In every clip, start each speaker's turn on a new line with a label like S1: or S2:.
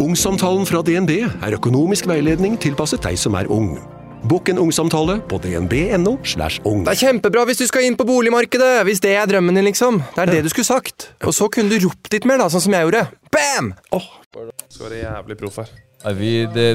S1: Ungsamtalen fra DNB er økonomisk veiledning tilpasset deg som er ung. Bokk en ungsamtale på dnb.no. slash ung.
S2: Det er kjempebra hvis du skal inn på boligmarkedet! Hvis det er drømmen din, liksom. Det er det du skulle sagt. Og så kunne du ropt litt mer, da, sånn som jeg gjorde. Bam!
S3: Skal være jævlig proff her.
S4: Nei, vi, det,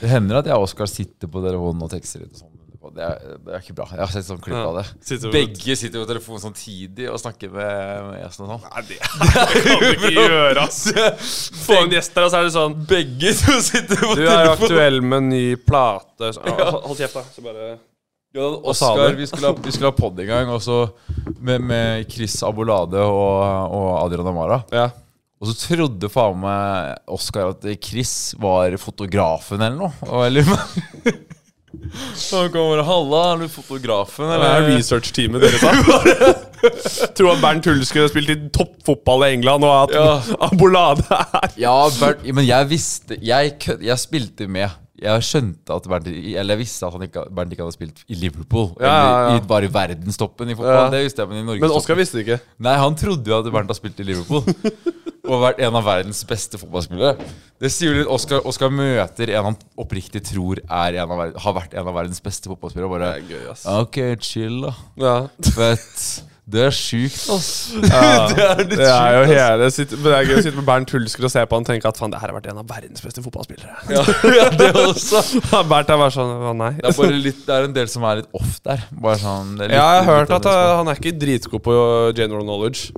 S4: det hender at jeg og Oskar sitter på telefonen og tekster litt. og sånn. Det er, det er ikke bra. Jeg har sett sånn klipp
S3: Ja.
S4: av det.
S3: Sitter på-
S4: Begge sitter på telefonen samtidig og snakker med, med gjesten og sånn.
S3: Nei, det kan du ikke gjøre, ass. Få en gjest der, og så er det sånn
S4: Begge to sitter på
S3: Du er aktuell med en ny plate. Så, ja, hold kjeft, da. Så bare
S4: Og
S3: sa
S4: Oskar,
S3: det.
S4: vi skulle ha, vi skulle ha podd en gang, og så med, med Chris Abolade og, og Adrian Amara.
S3: Ja.
S4: Og så trodde faen meg Oskar at Chris var fotografen eller noe. Og- Eller, så han kommer og 'Halla, er du fotografen,
S3: Det er
S4: eller?'
S3: researchteamet deres, da. Tror at Bernt Hulske har spilt i toppfotball i England, og at
S4: Ja.
S3: Abolade er
S4: Ja, Bernt, men jeg visste jeg, kødd- jeg spilte med. Jeg skjønte at Bernt Eller jeg visste at han ikke, Bernt ikke hadde spilt i Liverpool.
S3: Ja, ja, ja.
S4: Eller i bare i verdenstoppen i fotball.
S3: Ja.
S4: Det visste jeg, men i Norge
S3: Men Oskar visste det ikke.
S4: Nei, han trodde jo at Bernt har spilt i Liverpool. og vært en av verdens beste fotballspillere. Det sier jo litt Oskar, Oskar møter en han oppriktig tror er en av, ver- har vært en av verdens beste fotballspillere. og Bare,
S3: Det er gøy, ass.
S4: ok, chill, da.
S3: Ja.
S4: Fett. Det er sjukt, ass.
S3: det er,
S4: litt
S3: jo
S4: sjukt,
S3: hele sitt- men Det er gøy å sitte med Bernt Hulsker og se på han og tenke at faen, det her har vært en av verdens beste fotballspillere.
S4: Ja, ja, det også.
S3: Bernt er bare sånn «Å, Nei.
S4: Det er, bare litt, det er en del som er litt off der. Bare sånn, det er litt,
S3: Ja, jeg har hørt
S4: litt
S3: at
S4: annerledes.
S3: uh, han er ikke dritgod på general knowledge.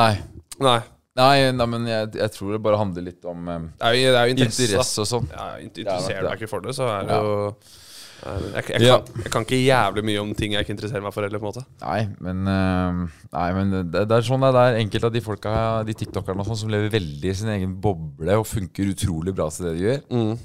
S4: Nei.
S3: Nei.
S4: Nei, nei, men jeg, jeg tror det bare handler litt om eh,
S3: Det er jo, det er jo interesse. da.
S4: interesse og sånn.
S3: Ja, int-
S4: Det er
S3: interesserer
S4: nok
S3: deg
S4: det.
S3: ikke for det, så er det
S4: Ja.
S3: jo eh, jeg, jeg,
S4: Ja.
S3: kan, jeg kan ikke jævlig mye om ting jeg ikke interesserer meg for heller, på en måte.
S4: Nei, men, eh, nei, men det, det er sånn det er. Det er enkelte av de folka, de tiktokerne og sånn, som lever veldig i sin egen boble og funker utrolig bra til det de gjør.
S3: Mm.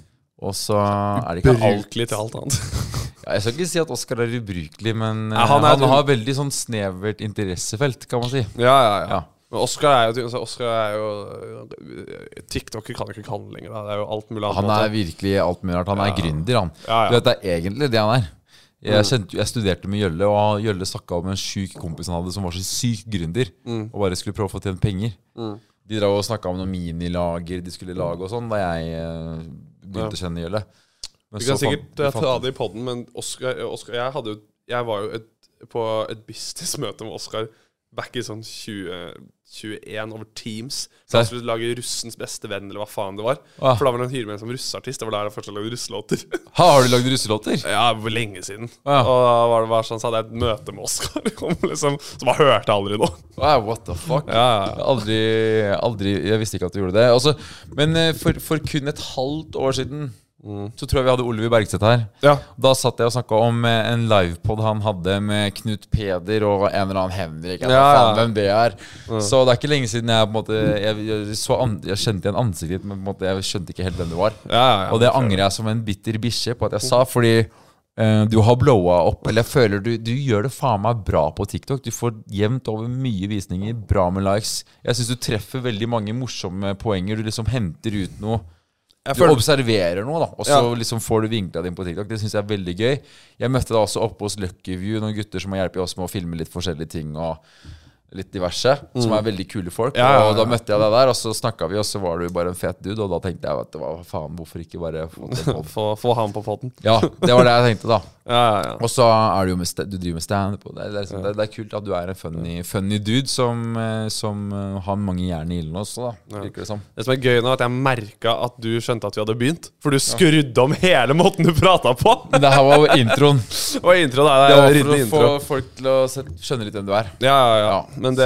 S4: Og så er det ikke alt
S3: Brukelig til alt annet.
S4: ja, Jeg skal ikke si at Oskar er ubrukelig, men eh,
S3: Ja, han
S4: han,
S3: er et-
S4: har veldig sånn snevert interessefelt, kan man si.
S3: Ja, ja, ja.
S4: Ja.
S3: Men Oscar er jo, altså, Oscar er jo TikToker kan jo ikke kalle lenger. Da. Det er jo alt mulig annet.
S4: Han
S3: på en
S4: er
S3: måte.
S4: virkelig alt mulig rart. Han er gründer, han.
S3: Ja, Mm. ja.
S4: Du vet, Det er egentlig det han er. Jeg, kjente, jeg studerte med Jølle, og Jølle snakka om en sjuk kompis han hadde som var så syk gründer,
S3: Mm.
S4: og bare skulle prøve å få tjent penger. De drev og snakka om noen minilager de skulle lage og sånn, da jeg eh, begynte å kjenne Jølle. Men
S3: Vi kan
S4: så
S3: sikkert eh,
S4: fant- vi
S3: ta
S4: fant-
S3: det i poden, men Oscar, eh, Oscar jeg, hadde, jo- jeg var jo et, på et businessmøte med Oscar back i sånn 2021 over Teams. Så jeg
S4: Serr?
S3: skulle lage russens beste venn, eller hva faen det var.
S4: Ah.
S3: For da var det en hyre med en som russeartist. Det var der jeg først lagde russelåter.
S4: ha, Har du lagd russelåter?
S3: Ja, hvor lenge siden.
S4: Ah, Ja.
S3: Og da var det bare sånn, så hadde jeg et møte med Oskar, liksom, som jeg hørte aldri nå.
S4: Wow, what the fuck? Jeg har Aldri, aldri Jeg visste ikke at du gjorde det. Altså, men eh, for, for kun et halvt år siden
S3: Mm.
S4: så tror jeg vi hadde Oliver Bergseth her.
S3: Ja.
S4: Da satt jeg og snakka om eh, en livepod han hadde med Knut Peder og en eller annen Henrik. Jeg vet
S3: Ja, ja.
S4: faen hvem det er. Så det er ikke lenge siden jeg på en måte Jeg, jeg, så an, jeg kjente igjen ansiktet ditt, men på en måte jeg skjønte ikke helt hvem det var.
S3: Ja, ja, ja.
S4: og det angrer jeg som en bitter bikkje på at jeg sa, fordi eh, du har blowa opp. Eller jeg føler du, du gjør det faen meg bra på TikTok. Du får jevnt over mye visninger, bra med likes. Jeg syns du treffer veldig mange morsomme poenger. Du liksom henter ut noe.
S3: Jeg
S4: Du
S3: føler-
S4: observerer noe, da, og så
S3: Ja.
S4: liksom får du vinkla din på TikTok. Det syns jeg er veldig gøy. Jeg møtte da også oppe hos Lucky View noen gutter som har hjulpet oss med å filme litt forskjellige ting. og Litt diverse, som er veldig kule folk.
S3: Mm. Ja, ja, ja.
S4: Og da møtte jeg deg der, og så snakka vi, og så var du bare en fet dude. Og da tenkte jeg at hva faen, hvorfor ikke bare få til en pod?
S3: Få, få han på poden.
S4: Ja, det var det jeg tenkte, da.
S3: Ja, ja, ja.
S4: Og så er du jo med sta- Du driver med standup. og Det, er- det, er liksom, det, er- det er kult at du er en funny, funny dude som, eh, som eh, har mange jern i ilden også, da. Virker det som.
S3: Det som er gøy nå, er at jeg merka at du skjønte at vi hadde begynt. For du skrudde om hele måten du prata på!
S4: Men det her var introen.
S3: Og intro, da. Det er
S4: Det var for å
S3: ryddig
S4: få
S3: intro.
S4: folk til å se- skjønne litt hvem du er.
S3: Ja, ja, ja.
S4: Ja,
S3: Men det,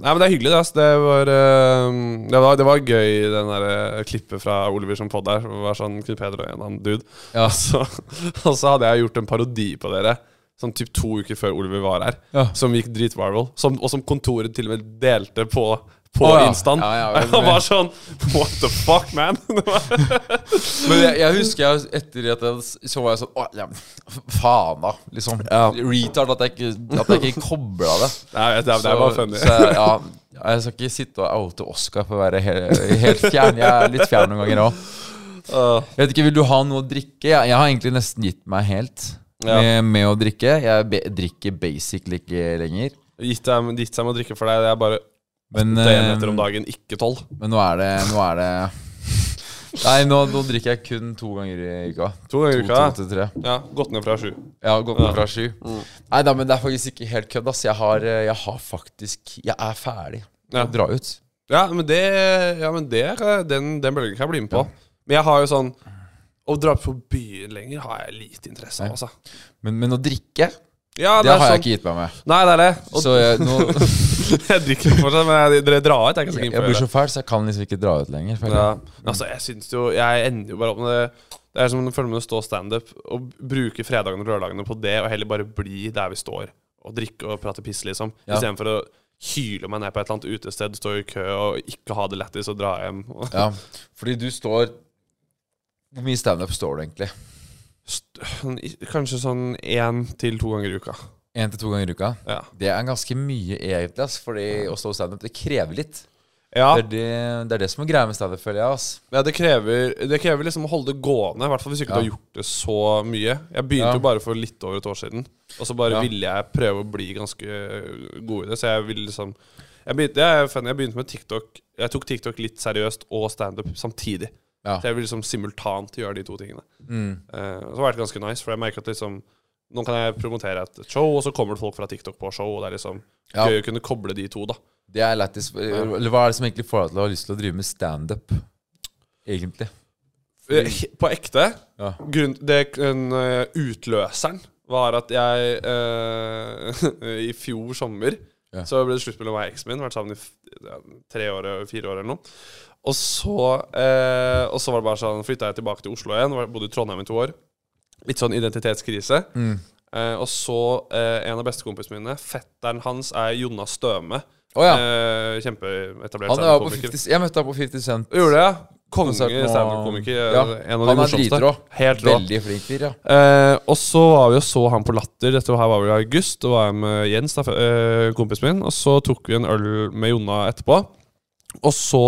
S3: nei, men det er hyggelig, det. ass. Det var, eh, det var, det var gøy, den der eh, klippet fra Oliver som podd der. Det var sånn Knut Peder og en annen dude.
S4: Ja.
S3: Og så, og så hadde jeg gjort en parodi på dere. Sånn typ to uker før Oliver var her.
S4: Ja.
S3: Som gikk dritviral. Som, og som kontoret til og med delte på, på
S4: Å, ja.
S3: Instaen.
S4: Ja, ja, vel,
S3: Han var sånn What the fuck, man? Det var-
S4: Men jeg, jeg husker jeg, etter at jeg s- så var jeg sånn Å, ja, faen, da. Liksom. Retard at jeg ikke, at jeg ikke kobla det.
S3: Nei, jeg vet, det, er- det er bare funny.
S4: Så, jeg- ja, jeg skal ikke sitte og oute Oskar for å være helt, helt fjern. Jeg er litt fjern noen ganger òg. Jeg vet ikke, Vil du ha noe å drikke? Jeg, jeg har egentlig nesten gitt meg helt med, med å drikke. Jeg be, drikker basically ikke lenger.
S3: Gitt seg, gitt seg med å drikke for deg, det er bare
S4: Men,
S3: åtte enheter om
S4: eh,
S3: dagen, ikke tolv.
S4: men nå er det, nå er det Nei, nå, nå drikker jeg kun to ganger i uka.
S3: To ganger i uka. Mm.
S4: To, to til tre.
S3: Ja, gått ned fra sju.
S4: Jeg har gått ned fra sju. Nei da, men det er faktisk ikke helt kødd, ass. Jeg har, eh, jeg har faktisk Jeg er ferdig.
S3: Ja.
S4: Jeg drar ut.
S3: Ja, men det Ja, men det er, eh, den, den bølgen kan jeg bli med på. Men jeg har jo sånn Å dra på byen lenger har jeg lite interesse av, altså.
S4: Men, men å drikke,
S3: Ja,
S4: det, har
S3: sånn,
S4: jeg ikke gitt meg med.
S3: Nei, det er det. Og
S4: Så jeg, nå,
S3: jeg drikker fortsatt, men jeg, dere drar ut. Jeg er ikke så
S4: jeg
S3: keen på å
S4: blir
S3: gjøre
S4: så
S3: det.
S4: fæl, så jeg kan liksom ikke dra ut lenger. føler
S3: Ja.
S4: jeg.
S3: Men Altså, jeg syns jo Jeg ender jo bare opp med det. Det er som å følge med å stå standup og bruke fredagene og lørdagene på det, og heller bare bli der vi står og drikke og prate piss, liksom.
S4: Ja.
S3: Istedenfor å hyle meg ned på et eller annet utested, stå i kø og ikke ha det lættis og dra hjem. Og
S4: Ja. Fordi du står Hvor mye standup står du egentlig?
S3: St- Kanskje sånn én til to ganger i uka.
S4: Én til to ganger i uka?
S3: Ja.
S4: Det er ganske mye, egentlig. ass Fordi å stå standup, det krever litt.
S3: Ja,
S4: Det, er det, det er det som er greia med standup, føler jeg. ass
S3: ja det, krever, det krever liksom å holde det gående, i hvert fall hvis ikke
S4: Ja.
S3: du har gjort det så mye. Jeg begynte
S4: Ja.
S3: jo bare for litt over et år siden, og så bare
S4: Ja.
S3: ville jeg prøve å bli ganske god i det. Så jeg ville liksom Jeg begynte, jeg, er fan, jeg begynte med TikTok. Jeg tok TikTok litt seriøst og standup samtidig.
S4: Ja. Mm.
S3: Så jeg vil liksom simultant gjøre de to tingene. Eh, så har det vært ganske nice, for jeg merker at liksom nå kan jeg promotere et show, og så kommer det folk fra TikTok på show. Og det er liksom
S4: Ja.
S3: gøy å kunne koble de to, da.
S4: Det er lættis. Eller hva er det som egentlig får deg til å ha lyst til å drive med standup, egentlig?
S3: Eh, he- På ekte
S4: Ja.
S3: grunn, det, en, eh, Utløseren var at jeg eh, I fjor sommer
S4: Ja.
S3: Så ble det slutt mellom meg og eksen min. Vært sammen i f- ja, tre år, eh, fire år eller noe. Og så, eh, og så var det bare sånn flytta jeg tilbake til Oslo igjen. var- Bodde i Trondheim i to år. Litt sånn identitetskrise.
S4: Mm.
S3: Eh, og så eh, en av bestekompisene mine, fetteren hans, er Jonna Støme.
S4: Å ja.
S3: Eh, kjempeetablert
S4: Han var på
S3: standup-komiker.
S4: 50, jeg møtte ham på 50 Cent.
S3: Gjorde det, ja. Konge
S4: Konsert nå.
S3: standup-komiker. eh,
S4: Ja,
S3: En av de
S4: han er
S3: morsomste.
S4: dritrå.
S3: Helt rå.
S4: Veldig flink fyr, ja.
S3: Eh, og så var vi og så han på Latter. Dette her var vel i august. Da var jeg med Jens, da, eh, kompisen min. Og så tok vi en øl med Jonna etterpå. Og så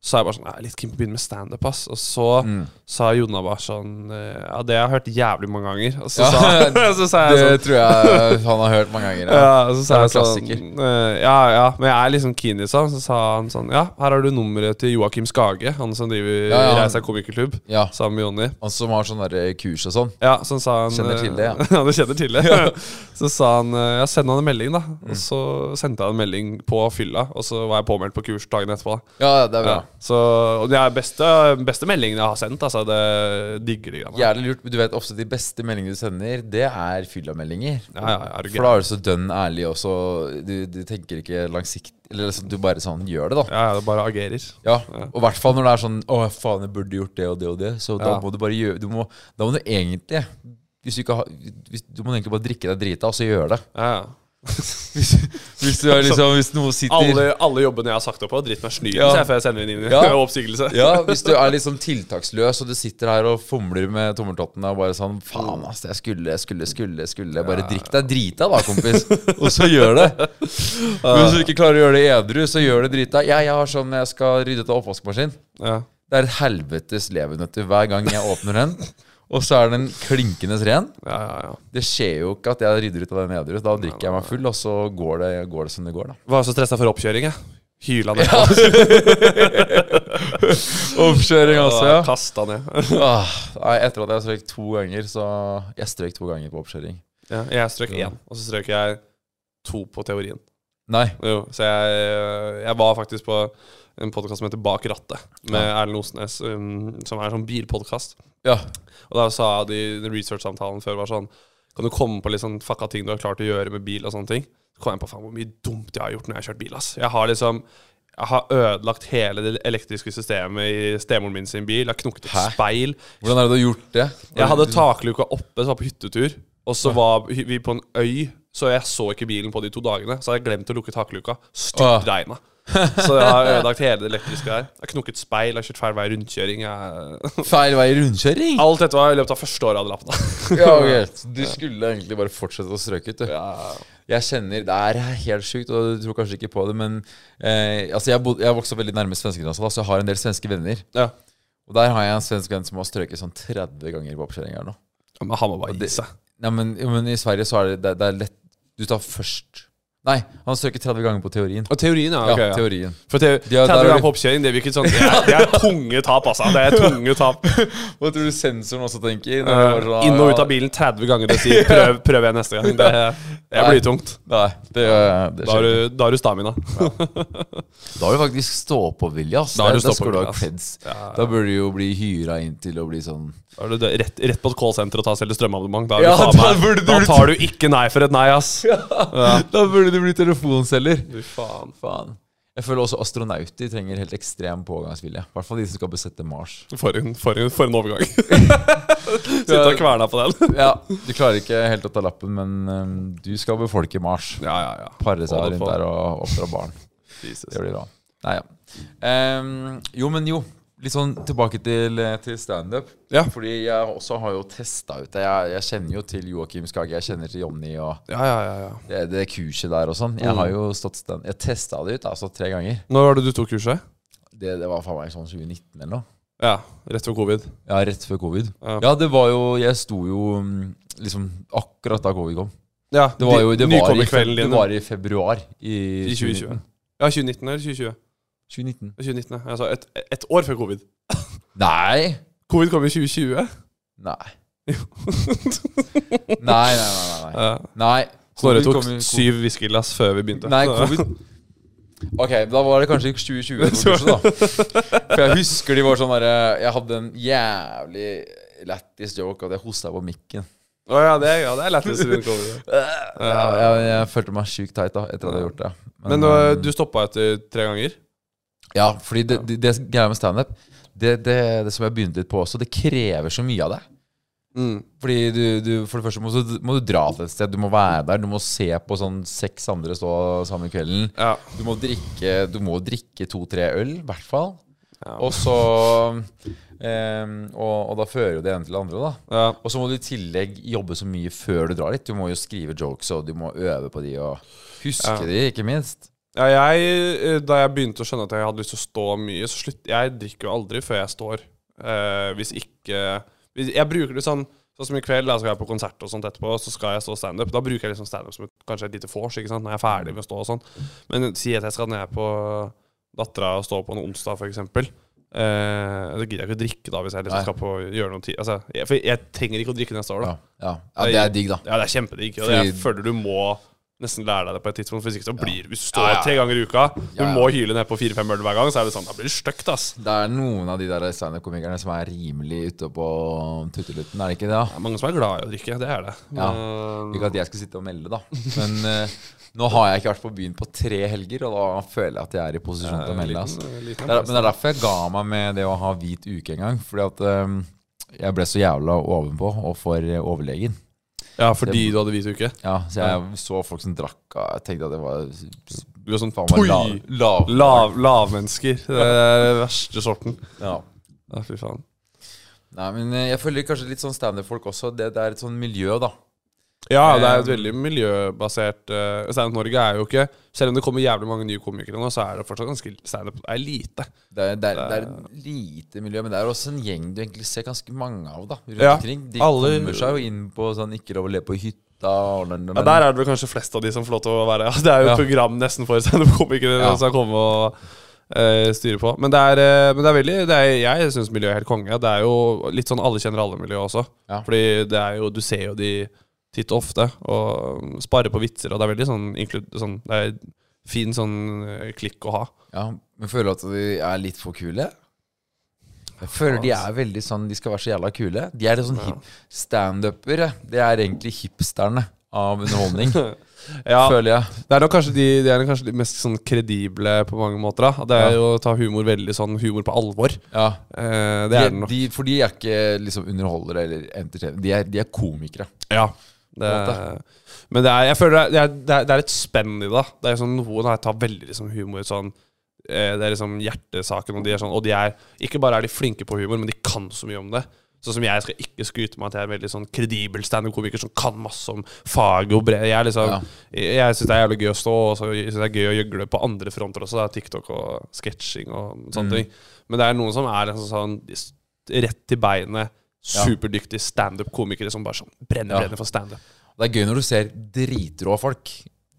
S3: sa jeg bare sånn Jeg er litt keen på å begynne med standup, ass. Og så
S4: Mm.
S3: sa Jonna bare sånn eh, Ja, det har jeg hørt jævlig mange ganger. Og så,
S4: Ja,
S3: sa, så sa jeg
S4: Det
S3: sånn
S4: tror jeg han har hørt mange ganger. Ja.
S3: ja, og så sa jeg
S4: Det er en
S3: sånn eh, Ja, ja, men jeg er liksom keen, liksom. Så sa han sånn Ja, her har du nummeret til Joakim Skage, han som driver
S4: Ja, ja, han-
S3: Reisa komikerklubb,
S4: Ja.
S3: sammen med Jonny.
S4: Han som har sånne der kurs og sånn.
S3: Ja, så sa han eh,
S4: Kjenner til det, ja.
S3: ja. du kjenner til det. Så sa han eh, ja, send han en melding, da.
S4: Mm.
S3: Og så sendte jeg en melding på fylla, og så var jeg påmeldt på kurs dagen etterpå. da.
S4: Ja, det er bra.
S3: Ja. Så, og det er beste, beste meldingen jeg har sendt. Altså, det digger de greiene.
S4: Jævlig lurt, men du vet ofte de beste meldingene du sender, det er fyllameldinger.
S3: Ja, ja, ja, er du
S4: For da er du så dønn ærlig også. Du, du tenker ikke langsiktig Eller liksom, du bare sånn gjør det, da.
S3: Ja, ja, det bare agerer.
S4: Ja, og i hvert fall når det er sånn Å, faen, jeg burde gjort det og det og det. Så da
S3: Ja.
S4: må du bare gjøre du må, Da må du egentlig hvis du, ikke har, hvis, du må egentlig bare drikke deg drita og så gjøre det.
S3: Ja, ja.
S4: Hvis, hvis, du er liksom, hvis noe sitter
S3: Alle, alle jobbene jeg har sagt opp på, drit meg sny
S4: Ja.
S3: ja. før jeg sender inn
S4: Ja.
S3: oppsigelse.
S4: Ja, Hvis du er liksom tiltaksløs og du sitter her og fomler med tommeltottene og bare sånn Faen, ass, jeg skulle, skulle, skulle, skulle Bare drikk deg drita, da, kompis. Og så gjør det. Men hvis du ikke klarer å gjøre det edru, så gjør det drita. Jeg, jeg har sånn jeg skal rydde ut av oppvaskmaskinen.
S3: Ja.
S4: Det er et helvetes levenøtter hver gang jeg åpner den. Og så er den klinkende ren.
S3: Ja, ja, ja.
S4: Det skjer jo ikke at jeg rydder ut av den edru. Da drikker jeg meg full, og så går det, går det som det går, da.
S3: Var så stressa for oppkjøring, jeg. altså, Hyla ned.
S4: Oppkjøring også,
S3: altså, Ja.
S4: ja.
S3: Kasta ned.
S4: Ah, nei, etter at jeg strøk to ganger, så Jeg strøk to ganger på oppkjøring.
S3: Ja, jeg strøk én, og så strøk jeg to på teorien.
S4: Nei.
S3: Jo, så jeg, eh, jeg var faktisk på en podkast som heter Bak rattet, med Erlend Osnes, um, som er en sånn bilpodkast.
S4: Ja.
S3: Og da sa de i den research-samtalen før var sånn Kan du komme på litt sånn fucka ting du har klart å gjøre med bil og sånne ting? Så kom jeg på faen hvor mye dumt jeg har gjort når jeg har kjørt bil, ass. Jeg har liksom jeg har ødelagt hele det elektriske systemet i stemoren min sin bil. Jeg har knukket et
S4: Hæ?
S3: speil.
S4: Hvordan er det du har gjort det?
S3: Jeg hadde takluka oppe, så var jeg på hyttetur. Og så var hy- vi på en øy, så jeg så ikke bilen på de to dagene. Så hadde jeg glemt å lukke takluka. Styrtregna. Så jeg har ødelagt hele det elektriske der. Jeg har knukket speil, jeg har kjørt feil vei i rundkjøring. Jeg...
S4: Feil vei i rundkjøring?
S3: Alt dette var i løpet av første året jeg hadde lappen. da.
S4: Ja, ok. Så Du skulle egentlig bare fortsette å strøke ut, du. Jeg kjenner, Det er helt sjukt, og du tror kanskje ikke på det, men eh, altså jeg, bod, jeg vokste opp veldig nærme svenskegrensa, da, så jeg har en del svenske venner.
S3: Ja.
S4: Og der har jeg en svensk venn som har strøket sånn 30 ganger på oppkjøring her nå.
S3: Men han må bare gi seg.
S4: Nei, men, jo, men i Sverige så er det, det, det er lett Du tar først Nei, han søker 30 ganger på teorien.
S3: Og teorien, ja. ok,
S4: ja,
S3: ja.
S4: teorien.
S3: For te
S4: Ja, der
S3: 30
S4: er
S3: ganger
S4: det-
S3: på oppkjøring, det virket sånn Det er, det er tunge tap, altså. Det er tunge tap.
S4: Hva tror du sensoren også tenker?
S3: Eh,
S4: sånn-
S3: inn og ut av bilen 30 ganger og si 'prøv, prøv igjen neste gang'. Det, det blir tungt.
S4: Nei, det, det
S3: Da har
S4: skjer.
S3: du, da har du stamina.
S4: Da har du faktisk ståpåvilje. ass.
S3: Da har du
S4: Det- det skal du
S3: ståpåvilje,
S4: ha
S3: ass.
S4: creds. Da bør du jo bli hyra inn til å bli sånn
S3: Da er du død- rett, rett på et callsenter og ta selv strømabonnement. Da, er
S4: Ja,
S3: du faen
S4: da
S3: meg-
S4: burde du-
S3: da tar du ikke nei for et nei, ass.
S4: Da burde du bli telefonselger.
S3: Fy faen.
S4: Faen. Jeg føler også astronauter trenger helt ekstrem pågangsvilje. I hvert fall de som skal besette Mars.
S3: For en, for en, for en overgang. Sitte og kverna på den.
S4: Ja, Du klarer ikke helt å ta lappen, men øhm, du skal befolke Mars.
S3: Ja, ja, ja.
S4: Pare
S3: Å,
S4: seg
S3: det
S4: rundt
S3: faen.
S4: der og oppdra barn.
S3: Jesus.
S4: Det blir bra. Nei, ja. Ehm, jo, men jo. Litt sånn tilbake til, eh, til standup.
S3: Ja.
S4: Fordi jeg også har jo testa ut det. Jeg, jeg kjenner jo til Joakim Skage, jeg kjenner til Jonny og
S3: Ja, Mm. ja, ja, ja.
S4: det, det kurset der og sånn. Jeg har jo stått stand Jeg testa det ut altså tre ganger.
S3: Når var det du tok kurset?
S4: Det, det var faen meg sånn 2019 eller noe.
S3: Ja, rett før covid.
S4: Ja, rett før covid.
S3: Ja.
S4: Ja, det var jo Jeg sto jo mm, liksom akkurat da covid kom.
S3: Ja,
S4: Det var jo det var i, feb-
S3: Nykommerkvelden
S4: det
S3: din.
S4: var i februar i,
S3: I 2020. Ja, 2019 eller 2020?
S4: 2019.
S3: 2019, ja. altså et, et år før covid.
S4: Nei.
S3: Covid kom i 2020.
S4: Nei. nei, nei, nei, nei.
S3: Ja.
S4: nei.
S3: Snorre
S4: Covid
S3: tok
S4: kom jo-
S3: syv whiskyglass før vi begynte.
S4: Nei, covid Ok, da var det kanskje 2020 på kurset, da. For jeg husker de var sånn derre Jeg hadde en jævlig lættis joke at jeg hosta på mikken.
S3: Å ja, det, er- ja, det er lettest rundt covid. ja.
S4: Jeg, jeg, jeg følte meg sjukt teit da etter at jeg hadde gjort det.
S3: Men øh, du stoppa etter tre ganger?
S4: Ja, fordi det, det, det greia med standup det, det, det som jeg begynte litt på også, det krever så mye av deg.
S3: Mm.
S4: Fordi du, du For det første må du, må du dra til et sted. Du må være der. Du må se på sånn seks andre stå sammen kvelden.
S3: Ja.
S4: Du må drikke Du må drikke to-tre øl, i hvert fall.
S3: Ja.
S4: Og så ehm, og, og da fører jo det ene til det andre, da.
S3: ja.
S4: Og så må du i tillegg jobbe så mye før du drar dit. Du må jo skrive jokes, og du må øve på de, og huske
S3: Ja.
S4: de, ikke minst.
S3: ja jeg, øh, da jeg begynte å skjønne at jeg hadde lyst til å stå mye, så slutt Jeg drikker jo aldri før jeg står. Eh, hvis ikke hvis, Jeg bruker det sånn Sånn som i kveld, da skal jeg på konsert og sånt etterpå, så skal jeg stå standup. Da bruker jeg liksom standup som et, kanskje et lite vors, ikke sant, når jeg er ferdig med å stå og sånn. Men si at jeg skal ned på dattera og stå på en onsdag, for eksempel. Eh, da gidder jeg ikke å drikke da, hvis jeg
S4: Nei.
S3: liksom skal på gjøre noe tid. Altså, jeg, for jeg trenger ikke å drikke neste år, da.
S4: Ja, ja. ja det er digg, da.
S3: Ja, det er kjempedigg. Og
S4: Fordi-
S3: jeg føler du må nesten lære deg det på et tidspunkt. Hvis ikke så blir Hvis du står
S4: Ja, ja.
S3: tre ganger i uka, du
S4: Ja, ja.
S3: må hyle ned på fire-fem øl hver gang, så er det sånn Da blir det stygt, ass.
S4: Det er noen av de der standup-komikerne som er rimelig ute på tuttelutten, er det ikke det? da?
S3: Det er mange som er glad i å drikke. Det er det.
S4: Ja.
S3: Men-
S4: Ikke at jeg skulle sitte og melde, da. Men eh, nå har jeg ikke vært på byen på tre helger, og da føler jeg at jeg er i posisjon til å melde. Altså.
S3: Liten-
S4: Det
S3: liten
S4: er, men det er derfor jeg ga meg med det å ha hvit uke en gang. Fordi at eh, jeg ble så jævla ovenpå og for eh, overlegen.
S3: Ja, fordi du hadde hvit uke?
S4: Ja, så jeg så folk som drakk, og jeg tenkte at det var
S3: Du er sånn
S4: faen meg lav,
S3: tui!
S4: lav.
S3: Lav, lavmennesker. Det er den verste sorten.
S4: Ja.
S3: Ja, fy faen.
S4: Nei, men eh, jeg føler kanskje litt sånn standup-folk også. Det, det er et sånn miljø, da.
S3: Ja, det er et
S4: Eh,
S3: veldig miljøbasert uh, Standup Norge er jo ikke Selv om det kommer jævlig mange nye komikere nå, så er det fortsatt ganske standup er lite.
S4: Det er, det, er, det er lite miljø, men det er også en gjeng du egentlig ser ganske mange av. da rundt
S3: Ja,
S4: omkring. De
S3: alle-
S4: kommer seg jo inn på sånn ikke lov å le på hytta. Og den, den,
S3: Ja, Der er det vel kanskje flest av de som får lov til å være altså, Det er jo
S4: Ja.
S3: et program nesten for standup-komikere
S4: Ja.
S3: som skal komme og eh, styre på. Men det er, eh, men det er veldig det er, Jeg syns miljøet er helt konge. Det er jo litt sånn alle kjenner alle-miljø også.
S4: Ja.
S3: Fordi det er jo Du ser jo de titt og ofte og sparer på vitser, og det er veldig sånn, inklud, sånn Det er fin sånn eh, klikk å ha.
S4: ja, Men føler du at de er litt for kule? Jeg føler de er veldig sånn De skal være så jævla kule. De er litt sånn hip standupere. De er egentlig hipsterne av underholdning,
S3: Ja,
S4: føler jeg.
S3: Det er nok kanskje de, de er nok kanskje de mest sånn kredible på mange måter. Da. Det er
S4: Ja.
S3: jo å ta humor veldig sånn humor på alvor.
S4: Ja
S3: Eh, det
S4: de,
S3: er det nok.
S4: de, for de er ikke liksom underholdere eller entertainere. De er, de er komikere.
S3: Ja. Det, Eh, men det er, jeg føler det er, det er, det er et spenn i det. da. Det er sånn, Noen har tar veldig liksom, humor sånn eh, Det er liksom hjertesaken, og de er sånn Og de er Ikke bare er de flinke på humor, men de kan så mye om det. Sånn som jeg skal ikke skryte meg at jeg er en veldig sånn kredibel standup-komiker som kan masse om faget og brev. Jeg, er liksom,
S4: Ja.
S3: jeg, jeg syns det er jævlig gøy å stå, og så syns jeg det er gøy å gjøgle på andre fronter også. Da, TikTok og sketsjing og sånne
S4: Mm.
S3: ting. Men det er noen som er liksom sånn de s- rett til beinet, superdyktige standup-komikere som bare sånn brenner,
S4: Ja.
S3: brenner for standup.
S4: Det er gøy når du ser dritrå folk.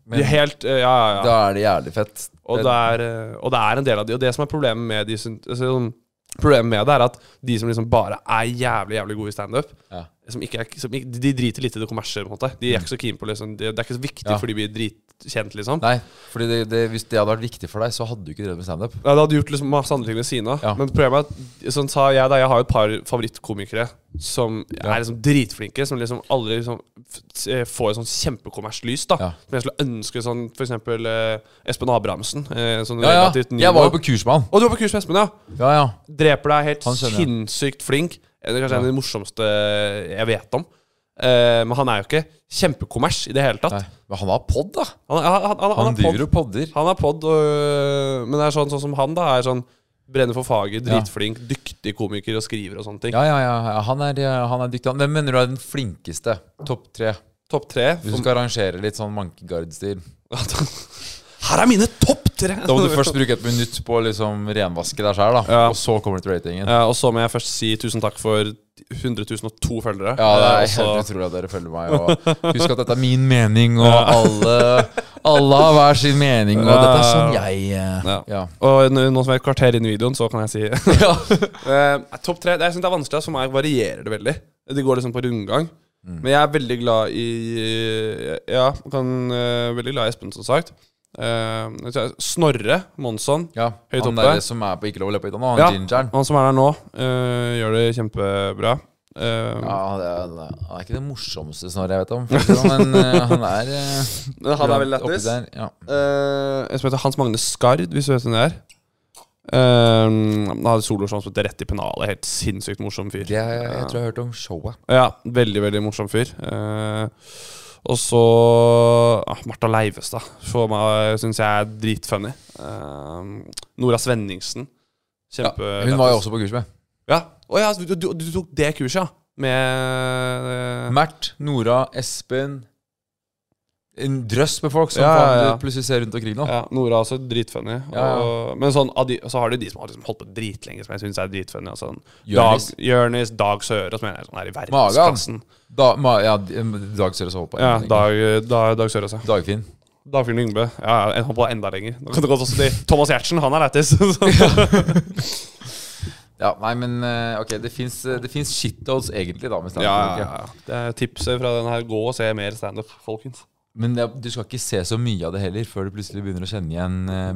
S3: De er helt, eh, ja, ja, ja.
S4: Da er det jævlig fett.
S3: Og det, er, eh, og det er en del av de Og det som er problemet med de syn- altså, sånn, Problemet med det er at de som liksom bare er jævlig jævlig gode i standup,
S4: Ja.
S3: som ikke er- som ikke- de driter litt i det kommersielle. på en måte De er ikke så keen på liksom, det, det er ikke så viktig
S4: Ja.
S3: for de blir dritkjent, liksom.
S4: Nei, fordi det, det, hvis det hadde vært viktig for deg, så hadde du ikke drevet med standup.
S3: Ja, det hadde gjort liksom masse andre ting ved siden av.
S4: Ja.
S3: Men problemet er at sånn sa jeg da, jeg har jo et par favorittkomikere som er liksom dritflinke, som liksom aldri liksom f- s- eh, får et sånn kjempekommersielt lys. da
S4: Ja.
S3: Som jeg skulle ønske sånn for eksempel eh, Espen Abrahamsen. Eh, sånn
S4: Ja, ja.
S3: relativt ny
S4: Jeg var jo
S3: nå.
S4: på kurs med han.
S3: Og du var på kurs med Espen, ja!
S4: Ja, ja.
S3: Dreper deg helt
S4: Han kjenner jeg.
S3: sinnssykt flink. Det er kanskje en av de morsomste jeg vet om. Eh, men han er jo ikke kjempekommers i det hele tatt.
S4: Nei. Men han har pod, da.
S3: Han, han, han, han,
S4: Han
S3: er pod,
S4: driver og podder.
S3: han er pod, og, men det er sånn, sånn som han, da. Er sånn Brenner for faget, dritflink, dyktig komiker og skriver og sånne ting.
S4: Ja, ja, ja. ja. Han er, ja, han er dyktig. Han- Hvem mener du er den flinkeste? Topp tre.
S3: Topp tre.
S4: Hvis du
S3: Om-
S4: skal arrangere litt sånn Mankegard-stil.
S3: Her er mine topp tre!
S4: Da må du først bruke et minutt på å liksom renvaske deg sjøl, da.
S3: Ja.
S4: Og så kommer du til ratingen.
S3: Ja,
S4: Ja,
S3: og så må jeg først si tusen takk for 100.002 følgere.
S4: det
S3: Eh, og
S4: er
S3: så-
S4: helt utrolig at dere følger meg. Og husk at dette er min mening, og alle, alle har hver sin mening. Og dette er sånn jeg eh,
S3: Ja.
S4: Ja.
S3: Og nå nå som jeg er et kvarter inn i videoen, så kan jeg si Eh, Topp tre. Det, jeg synes det er vanskelig. ass. For meg varierer det veldig. Det går liksom på rundgang.
S4: Mm.
S3: Men jeg er veldig glad i Ja, kan, eh, veldig glad i Espen, som sagt. Eh, jeg tror- Snorre Monsson.
S4: ja.
S3: Høyt
S4: Han
S3: oppe.
S4: der som er på Ikke lov å le på hytta nå, han
S3: Ja,
S4: gingeren.
S3: han som er der nå, eh, gjør det kjempebra. Eh,
S4: Ja, det er, det er- han er ikke det morsomste Snorre jeg vet om, for å si det sånn, men eh, han er eh,
S3: men han er veldig
S4: oppi
S3: lættis.
S4: der, Ja.
S3: Eh, en som heter Hans Magne Skard, hvis du vet hvem det er. Eh, han hadde soloshow som het Rett i pennalet. Helt sinnssykt morsom fyr.
S4: Det er, jeg tror jeg har hørt om showet.
S3: Ja, veldig, veldig morsom fyr. Eh, og så ah, Martha Leivestad syns jeg er dritfunny. Eh, Nora Svenningsen. Kjempe
S4: Ja, hun var jo også på kurs med.
S3: Ja. Å ja, altså, du, du, du tok det kurset, ja? Med
S4: Mert, Nora, Espen En drøss med folk som
S3: Ja, ja,
S4: faen
S3: ja.
S4: du plutselig ser rundt omkring nå.
S3: ja, Nora også dritfunny.
S4: Ja, ja.
S3: Og- Men sånn, av de, så har du de som har liksom holdt på dritlenge, som jeg syns er dritfunny. Altså, Dag,
S4: Jonis.
S3: Jørnis, Dag Søre, som jeg er sånn her i
S4: Magan.
S3: verdensklassen.
S4: Da, ma, ja, d- Dag Sørøs holdt på.
S3: Ja, Dag, Dag, Dag Søre, altså.
S4: Dagfinn.
S3: Dagfinn Lyngbø. Ja, ja, en- han på enda lenger. Da kan det godt også bli Thomas Giertsen, han er lættis.
S4: Ja, nei, men eh, ok, det fins shitdogs egentlig, da. Med
S3: ja,
S4: standup,
S3: ja,
S4: ok?
S3: ja. Det er tipset fra den her. Gå og se mer standup, folkens.
S4: Men det, er- du skal ikke se så mye av det heller før du plutselig begynner å kjenne igjen eh,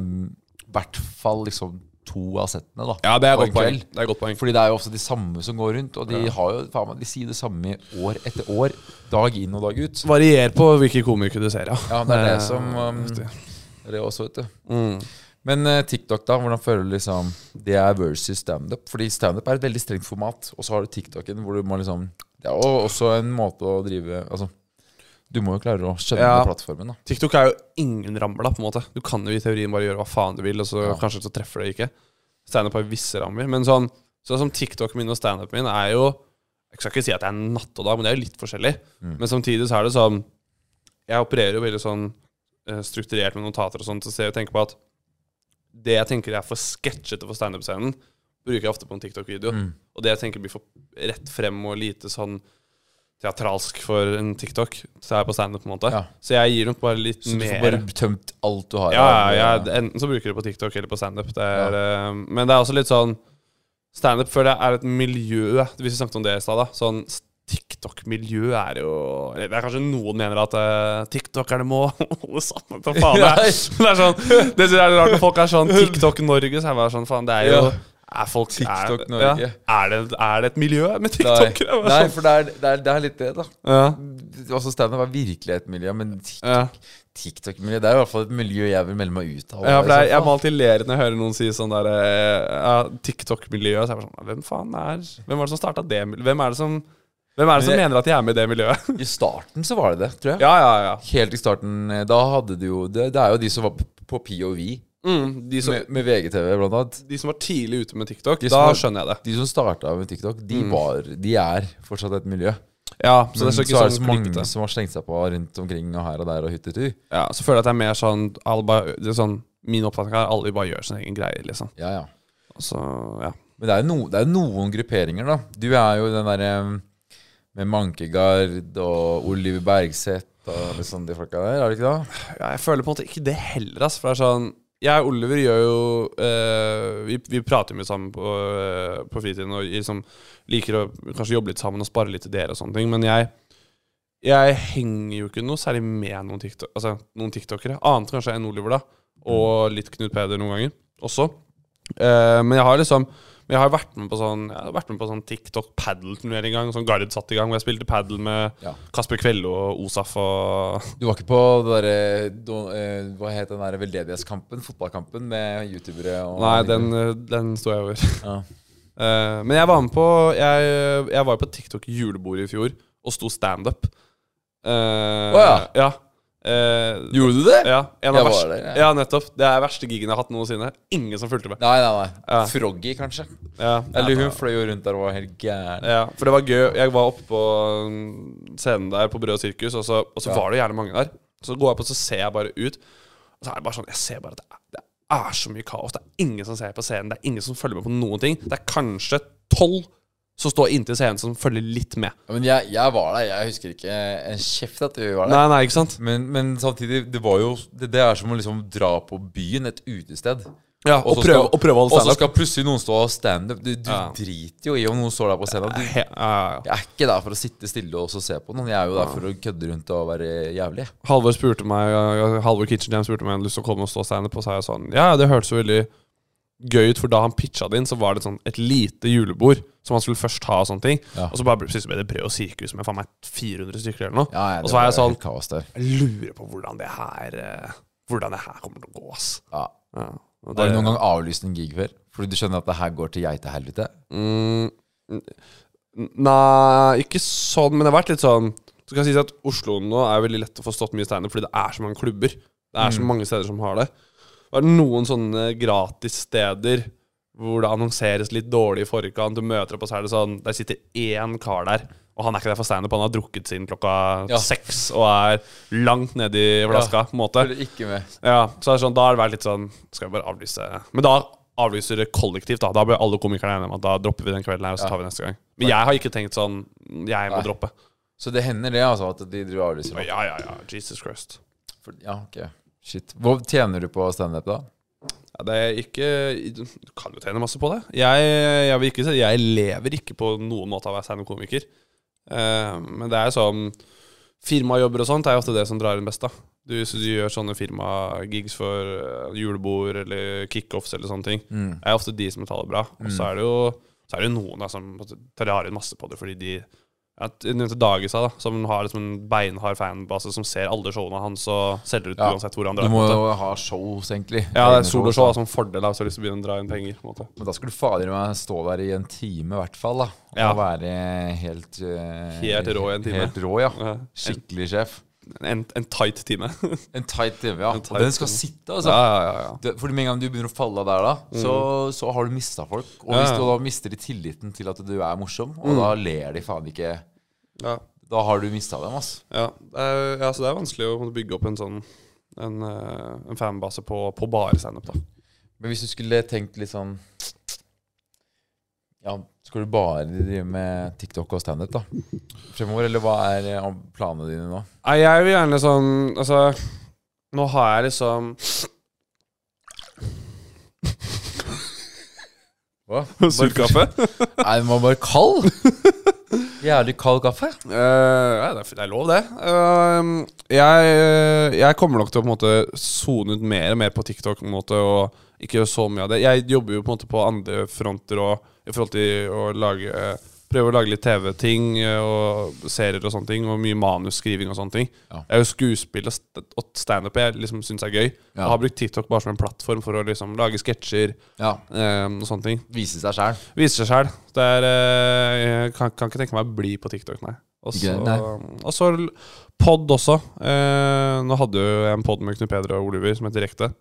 S4: hvert fall liksom to av settene, da.
S3: Ja, det er
S4: på en
S3: godt poeng.
S4: kveld.
S3: Det er godt poeng.
S4: Fordi det er jo ofte de samme som går rundt, og de, har jo, faen, meg, de sier det samme år etter år. Dag inn og dag ut.
S3: Varier på hvilke komikere du ser, ja.
S4: Ja, det er det
S3: Eh, mm.
S4: som um,
S3: riktig.
S4: Det er det også, vet du. Men eh, TikTok, da? Hvordan føler du liksom det er versus standup? Fordi standup er et veldig strengt format, og så har du TikToken hvor du må liksom Det er jo også en måte å drive Altså, du må jo klare å skjønne
S3: Ja.
S4: plattformen, da.
S3: TikTok er jo ingen ramla, på en måte. Du kan jo i teorien bare gjøre hva faen du vil, og så
S4: Ja.
S3: kanskje så treffer det ikke. Standup har visse rammer. Men sånn, sånn som TikTok min og standupen min er jo Jeg skal ikke si at det er natt og dag, men det er jo litt forskjellig.
S4: Mm.
S3: Men samtidig så er det sånn Jeg opererer jo veldig sånn eh, strukturert med notater og sånt, så ser jeg tenker på at det jeg tenker er for sketsjete for standup-scenen, bruker jeg ofte på en TikTok-video.
S4: Mm.
S3: Og det jeg tenker blir for rett frem og lite sånn teatralsk for en TikTok, så er jeg på standup, på en måte.
S4: Ja.
S3: Så jeg gir nok bare litt
S4: Så du får
S3: mer
S4: bare tømt alt du har.
S3: ja,
S4: av,
S3: ja,
S4: eh,
S3: ja, enten så bruker du på TikTok eller på standup. Det er, eh, Men det er også litt sånn Standup føler jeg er et miljø, hvis vi snakket om det i stad. da, Sånn s- TikTok-miljø er jo eller Det er kanskje noen mener at eh, TikTokerne må holde sammen til faen. Det er, det er sånn Det synes jeg er rart når folk er sånn TikTok-Norge, så er jeg bare sånn faen, det er jo
S4: Ja.
S3: Er folk er,
S4: TikTok-Norge.
S3: er, det, er det et miljø med
S4: Nei,
S3: TikTokere?
S4: nei,
S3: Jeg bare sånn,
S4: for det er, det, er, det er litt det, da.
S3: Ja,
S4: Altså, Standup er virkelig et miljø, men Tik-
S3: ja.
S4: TikTok-miljø Det er i hvert fall et miljø jeg vil melde meg ut av. Liksom.
S3: Ja, for
S4: i så
S3: jeg, jeg
S4: fall.
S3: må alltid le litt når jeg hører noen si sånn der eh, ja, TikTok-miljøet. Så er jeg bare sånn Hvem faen er Hvem var det som starta det mil- Hvem er det som Hvem er det som
S4: Men jeg-
S3: mener at de er med i det miljøet?
S4: I starten så var det det, tror jeg.
S3: ja, ja, ja.
S4: Helt i starten, eh, da hadde du jo Det, det er jo de som var p- på POV
S3: Mm, de, som,
S4: med, med VGTV, blant annet.
S3: de som var tidlig ute med TikTok,
S4: De
S3: da
S4: som var-
S3: skjønner jeg det.
S4: De som starta med TikTok, de var De er fortsatt et miljø.
S3: Ja, Mm. så
S4: Men
S3: det
S4: så,
S3: er ikke
S4: er det
S3: sånn
S4: så mange
S3: klikkete.
S4: som har slengt seg på rundt omkring og her og der og hyttetur.
S3: Ja, så føler jeg at det er mer sånn, alle bare, det er sånn Min oppfatning er at alle bare gjør sin egen greie, liksom.
S4: Ja, ja.
S3: Så ja.
S4: Men det er jo no, det er noen grupperinger, da. Du er jo den derre med Mankegard og Oliver Bergseth gutta, liksom, de folka der, er det ikke det?
S3: Ja, jeg føler på en måte ikke det heller, ass. For det er sånn Jeg og Oliver gjør jo eh, vi, vi prater mye sammen på, eh, på fritiden og liksom liker å kanskje jobbe litt sammen og spare litt ideer og sånne ting. Men jeg Jeg henger jo ikke noe særlig med noen, TikTok, altså, noen tiktokere. Annet kanskje enn Oliver, da. Og litt Knut Peder noen ganger også. Eh, men jeg har liksom men jeg har vært med på sånn Jeg har vært med på sånn TikTok paddle-turnering en gang. Sånn Gard satt i gang, hvor jeg spilte paddle med
S4: Ja.
S3: Kasper Kvello og Osaf og
S4: Du var ikke på det derre do- eh, Hva het den derre veldedighetskampen? Fotballkampen med youtubere og
S3: Nei, den, eh, den sto jeg over.
S4: Ja.
S3: Eh, men jeg var med på Jeg, jeg var jo på TikTok julebordet i fjor og sto standup. Uh,
S4: ja.
S3: ja. Eh,
S4: Gjorde du det?
S3: ja, en av
S4: Jeg var
S3: verste,
S4: der,
S3: ja.
S4: ja.
S3: nettopp. Det er verste gigen jeg har hatt noensinne. Ingen som fulgte med.
S4: Nei, nei, nei.
S3: Ja.
S4: Froggy, kanskje.
S3: Ja,
S4: Eller hun fløy jo rundt der og var helt gæren.
S3: ja, for det var gøy. Jeg var oppe på mm, scenen der på Brød sirkus, og så, og så
S4: Ja.
S3: var det gjerne mange der. Så går jeg på, så ser jeg bare ut. Og så er det bare sånn Jeg ser bare at det er, det er så mye kaos. Det er ingen som ser på scenen. Det er ingen som følger med på noen ting. Det er kanskje tolv som står inntil scenen, som følger litt med.
S4: Ja, Men jeg, jeg var der. Jeg husker ikke en kjeft at vi var der.
S3: Nei, nei, ikke sant?
S4: Men, men samtidig, det var jo det, det er som å liksom dra på byen, et utested.
S3: Ja, og,
S4: så
S3: prøve,
S4: skal-
S3: og prøve å
S4: Og så
S3: holde standup.
S4: skal plutselig noen stå og standup. Du, du
S3: Ja.
S4: driter jo i om noen står der på scenen. Du,
S3: He- ja, ja, ja.
S4: jeg er ikke der for å sitte stille og så se på noen. Jeg er jo der for å kødde rundt og være jævlig.
S3: Halvor spurte meg ja, ja, Halvor Kitchen Jam spurte meg om jeg hadde lyst til å komme og stå standup, og så er jeg sånn Ja, det hørtes jo veldig gøy ut, for da han pitcha det inn, så var det sånn et lite julebord som han skulle først ha og sånne ting.
S4: Ja.
S3: Og så bare plutselig så ble det brød og sirkus med faen meg 400 stykker eller noe.
S4: Ja, ja, det
S3: og så var jeg
S4: jo
S3: sånn
S4: helt kaos der.
S3: Jeg lurer på hvordan det her eh, Hvordan det her kommer til å gå, ass.
S4: Ja.
S3: Ja. og
S4: Har
S3: det-
S4: du noen gang avlyst en gig før? Fordi du skjønner at det her går til geitehelvete?
S3: Mm, n- nei, ikke sånn, men det har vært litt sånn Så kan jeg si at Oslo nå er veldig lett å få stått mye steiner, fordi det er så mange klubber. Det er så mange steder som har det. Det er noen sånne gratissteder hvor det annonseres litt dårlig i forkant. Du møter opp, og så er det sånn Der sitter én kar der, og han er ikke der for standup. Han har drukket siden klokka
S4: Ja.
S3: seks og er langt nedi flaska, på en måte.
S4: Følger ikke med.
S3: Ja, så er det sånn, da har det vært litt sånn Skal vi bare avlyse Men da avlyser det kollektivt, da. Da blir alle komikerne enige om at da dropper vi den kvelden her, og så tar vi neste gang. Men jeg har ikke tenkt sånn Jeg må
S4: Nei.
S3: droppe.
S4: Så det hender det, altså, at de driver og avlyser.
S3: Ja, ja, ja. Jesus Christ.
S4: For- Ja, ok. Shit. Hva tjener du på standup, da?
S3: Ja, det er ikke Du kan jo tjene masse på det. Jeg, jeg vil ikke si Jeg lever ikke på noen måte av å være standup-komiker. Eh, men det er sånn Firmajobber og sånt er jo ofte det som drar inn best, da. Du, så du gjør sånne firmagigs for eh, julebord eller kickoffs eller sånne ting.
S4: Mm.
S3: Det er ofte de som betaler bra. Og så er det jo så er det jo noen da, som tar inn masse på det fordi de ja, t- jeg nevnte Dag i stad, da, som har liksom en beinhard fanbase som ser alle showene hans og selger ut
S4: Ja.
S3: uansett hvor han
S4: Du
S3: drar. på en
S4: må
S3: måte.
S4: jo ha shows, egentlig.
S3: Ja, det er
S4: Egne
S3: soloshow som fordel da, hvis du har lyst til å begynne å dra inn penger. på en måte.
S4: Men da skulle du fader meg stå der i en time, i hvert fall. da Og
S3: Ja.
S4: være helt eh,
S3: Helt rå i en time.
S4: Helt rå, ja.
S3: Ja.
S4: Skikkelig sjef.
S3: En, en tight time.
S4: En tight time, ja.
S3: En tight
S4: og den skal
S3: time.
S4: sitte, altså. Det- Fordi Med en gang du begynner å falle av der, da så, så har du mista folk. Og
S3: Mm.
S4: hvis
S3: Ja. Mm.
S4: du da mister de tilliten til at du er morsom, og da ler de faen ikke
S3: Ja,
S4: Da har du mista dem, ass.
S3: ja. Det er, ja, så det er vanskelig å bygge opp en sånn en, eh, en fanbase på, på bare standup, da.
S4: Men hvis du skulle tenkt litt sånn Ja, skal du bare drive med TikTok og standup da? fremover? Eller hva er eh, planene dine nå?
S3: Nei, jeg vil gjerne sånn Altså, nå har jeg liksom
S4: Hva?
S3: Surkaffe?
S4: Nei, den var bare kald. Jævlig kald kaffe.
S3: Eh, ja, det, er, det er lov, det. Eh, jeg, eh, jeg kommer nok til å på en måte sone ut mer og mer på TikTok. På en måte, og ikke gjøre så mye av det Jeg jobber jo på en måte på andre fronter og, i forhold til å lage eh, prøve å lage litt TV-ting eh, og serier og sånne ting. Og mye manusskriving og sånne ting.
S4: Ja.
S3: Jeg er jo skuespill og st- og standup jeg liksom syns er gøy.
S4: Ja.
S3: Jeg har brukt TikTok bare som en plattform for å liksom lage sketsjer
S4: Ja,
S3: eh, og sånne ting.
S4: Vise seg sjæl.
S3: Viser seg sjæl. Det er, eh, Jeg kan, kan ikke tenke meg å bli på TikTok, nei. Og så,
S4: Ikke, nei.
S3: og så l- pod også. Eh, nå hadde jo jeg en pod med Knut Peder og Oliver som het Direkte.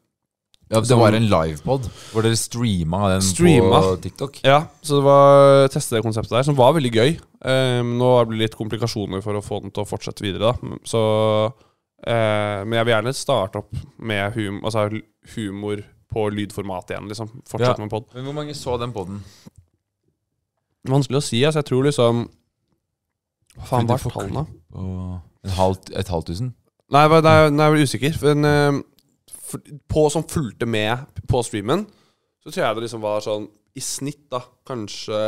S4: Ja, det var en livepod hvor dere streama den på
S3: Streama.
S4: TikTok.
S3: Ja, så det var teste det konseptet der, som var veldig gøy. Eh, nå har det blitt litt komplikasjoner for å få den til å fortsette videre, da. Mm, Så eh, Men jeg vil gjerne starte opp med hum, altså, l- humor på lydformat igjen, liksom. Fortsette
S4: Ja.
S3: med pod.
S4: Men hvor mange så den poden?
S3: Vanskelig å si, altså. Jeg tror liksom Hva faen
S4: Fordi
S3: var
S4: du får
S3: tallene?
S4: Og En halv, et halvt tusen?
S3: Nei, hva- nei, nei, jeg er usikker. Men eh, for, på som fulgte med på streamen, så tror jeg det liksom var sånn i snitt, da, kanskje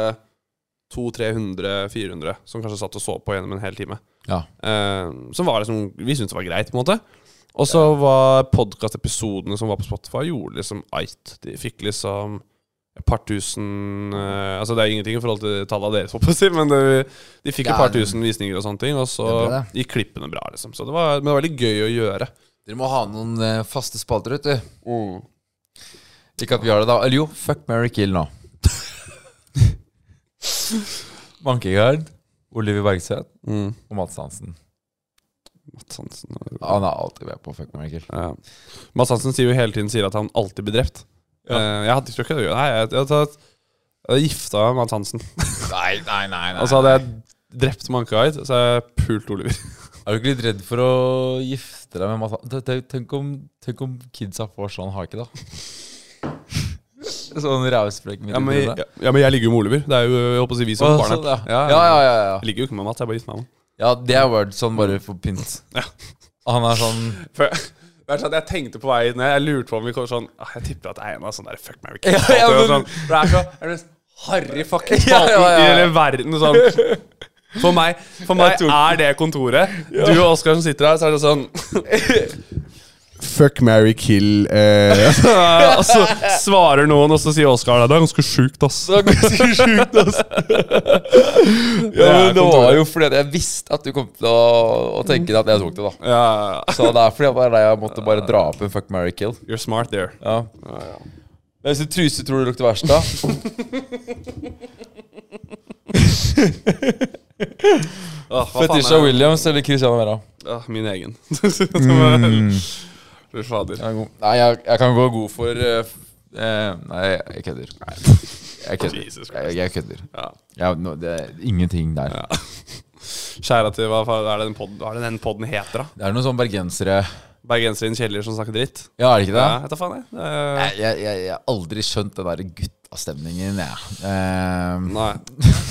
S3: 200-300-400 som kanskje satt og så på gjennom en hel time.
S4: Ja.
S3: Eh, som var liksom Vi syntes det var greit, på en måte. Og så var podkastepisodene som var på Spotify, gjorde liksom eit. De fikk liksom et par tusen eh, Altså, det er ingenting i forhold til tallet deres, håper jeg å si, men det, de fikk et
S4: Ja,
S3: par
S4: det-
S3: tusen visninger og sånne ting, og så
S4: Det ble det.
S3: gikk klippene bra, liksom. Så det var, men det var veldig gøy å gjøre.
S4: Dere må ha noen eh, faste spalter, vet du. Ikke at vi har det, da. Eller jo, fuck, marry, kill nå. Mankegard, Oliver Bergseth og Mads Hansen.
S3: Mm. Mads Hansen og-
S4: Han er alltid med på fuck, marry, kill.
S3: ja. Mads Hansen sier jo hele tiden sier at han alltid blir drept. Eh, jeg hadde tror ikke det. Nei, jeg, jeg, jeg, jeg gifta meg med Mads Hansen.
S4: Nei, nei, nei. nei.
S3: Og så Altså, hadde jeg drept Mankeid, så hadde jeg pult Oliver.
S4: Er du ikke litt redd for å gifte deg med Mads Hansen? Tenk- Tenk om, tenk om kidsa får sånn hake, da. sånn rævsprekk midt
S3: Ja,
S4: i
S3: men,
S4: trynet.
S3: ja, ja, men jeg ligger jo med Oliver. Det er jo jeg håper å si vi som
S4: Å,
S3: barn.
S4: sånn, ja.
S3: Ja,
S4: Ja, ja, ja, ja.
S3: Jeg ligger jo ikke med Mats, jeg bare gifter meg med ham.
S4: ja, det er word sånn bare for pynt. Han er sånn
S3: For- det er sånn at Jeg tenkte på vei ned Jeg lurte på om vi kom sånn ah, Jeg tipper at det er en av sånne der Fuck Mary Kill.
S4: Ja, ja,
S3: Det er
S4: men-
S3: sånn, det er så er det harry fucking
S4: Ja,
S3: spalten
S4: ja,
S3: i
S4: ja, ja.
S3: hele verden. Sånn. For meg, for meg er det kontoret. Du og Oskar som sitter her, så er det sånn
S5: Fuck, marry, kill eh,
S3: Og så svarer noen, og så sier Oskar det. Det er ganske sjukt, ass.
S4: Det var ganske sjukt, altså. ja,
S3: er
S4: men det
S3: kontoret.
S4: var jo fordi at jeg visste at du kom til å, å tenke deg at jeg tok det, da.
S3: Ja,
S4: Så det er fordi at det er da jeg måtte bare dra opp en fuck, marry, kill.
S3: You're smart there.
S4: Ja. Hvilken truse tror du lukter verst, da?
S3: Åh, hva faen er
S4: Fetisha
S3: det?
S4: Williams eller Christian Vera?
S3: Åh, Min egen.
S4: Mm.
S3: Fy fader.
S4: Jeg er god. Nei, jeg, jeg kan gå god for eh, f- eh, Nei, jeg kødder. Jeg kødder.
S3: Jesus Christ.
S4: Jeg, jeg kødder.
S3: Ja.
S4: Ja, nå, det er ingenting der.
S3: Kjære til hva faen er det den podden, hva er det den podden heter, da?
S4: Det er noen sånne bergensere
S3: Bergensere i en kjeller som snakker dritt?
S4: Ja, er det ikke det?
S3: Ja, jeg tar faen, jeg. Det
S4: Nei, Jeg, jeg, jeg har aldri skjønt den der guttastemningen, jeg. Eh,
S3: er- Nei.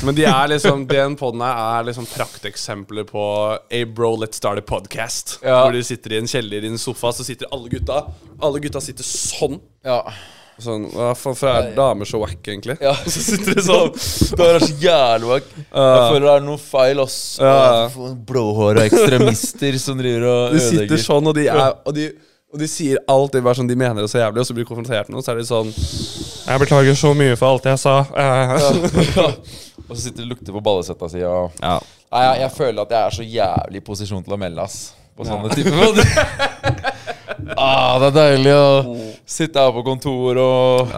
S3: Men de er liksom den podden her er liksom prakteksempler på Hey bro, let's start a podcast.
S4: Ja.
S3: Hvor de sitter i en kjeller i en sofa, så sitter alle gutta Alle gutta sitter sånn.
S4: ja.
S3: Sånn, Hva faen, for er damer så wack, egentlig?
S4: ja.
S3: Så sitter de sånn.
S4: Det er så jævlig vak. Jeg føler det er noe feil, ass.
S3: Ja.
S4: Blåhåra ekstremister som driver og
S3: De sitter
S4: ødelegger.
S3: sånn, og de, er, og de, og de sier alt det bare som de mener er så jævlig, og så blir de konfrontert med noe, så er de sånn Jeg beklager så mye for alt jeg sa.
S4: Ja. Og så sitter de og lukter på ballesetta si og
S3: Ja.
S4: Nei, jeg, jeg føler at jeg er så jævlig i posisjon til å melde, ass. På sånne typer måter. ah, det er deilig å
S3: Oh.
S4: sitte her på kontor og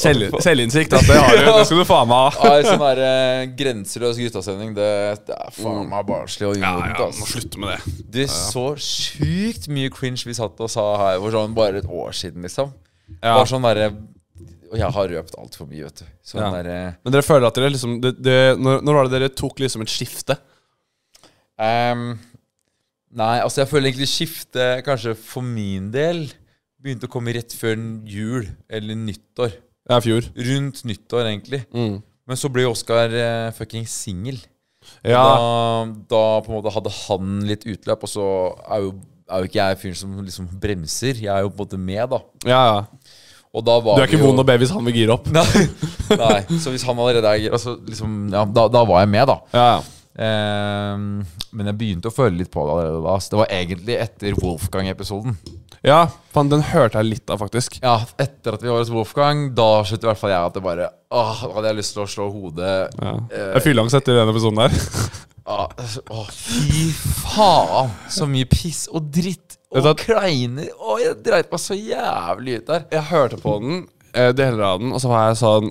S3: Selv, selvinnsikt, altså. Det, har du, det skal du faen meg ha.
S4: ha en sånn her, eh, grenseløs guttasending. Det, det er faen meg barnslig og
S3: Mm. Ja,
S4: jordent,
S3: ja, må
S4: ass.
S3: slutte med det.
S4: Det er så sjukt mye cringe vi satt og sa her for sånn bare et år siden, liksom.
S3: Ja.
S4: Bare sånn derre Og jeg har røpt altfor mye, vet du. Sånn
S3: Ja.
S4: derre
S3: Men dere føler at dere liksom det, det, når, når var det dere tok liksom et skifte?
S4: Ehm, nei, altså jeg føler egentlig skiftet kanskje for min del begynte å komme rett før jul eller nyttår.
S3: Ja, i fjor.
S4: Rundt nyttår, egentlig.
S3: Mm.
S4: Men så ble Oskar eh, fucking singel.
S3: Ja.
S4: Da, da på en måte hadde han litt utløp, og så er jo, er jo ikke jeg fyren som liksom bremser. Jeg er jo på en måte med, da.
S3: ja, ja.
S4: Og da var
S3: Du er ikke
S4: vi jo-
S3: vond å be hvis han vil gire opp.
S4: Nei. nei. Så hvis han allerede er gira, så liksom Ja, da, da var jeg med, da.
S3: Ja, ja.
S4: Ehm, men jeg begynte å føle litt på det allerede da. Så det var egentlig etter Wolfgang-episoden.
S3: ja faen, den hørte jeg litt av, faktisk.
S4: Ja, Etter at vi var hos Wolfgang, da skjønte i hvert fall jeg at det bare Åh, da hadde jeg lyst til å slå hodet
S3: Ja.
S4: eh,
S3: Jeg fyller angst etter den episoden der.
S4: ah, Åh, fy faen! Så mye piss og dritt
S3: Vet
S4: og
S3: du
S4: kleiner. Åh, jeg dreit meg så jævlig ut der.
S3: Jeg hørte på den, eh, deler av den, og så var jeg sånn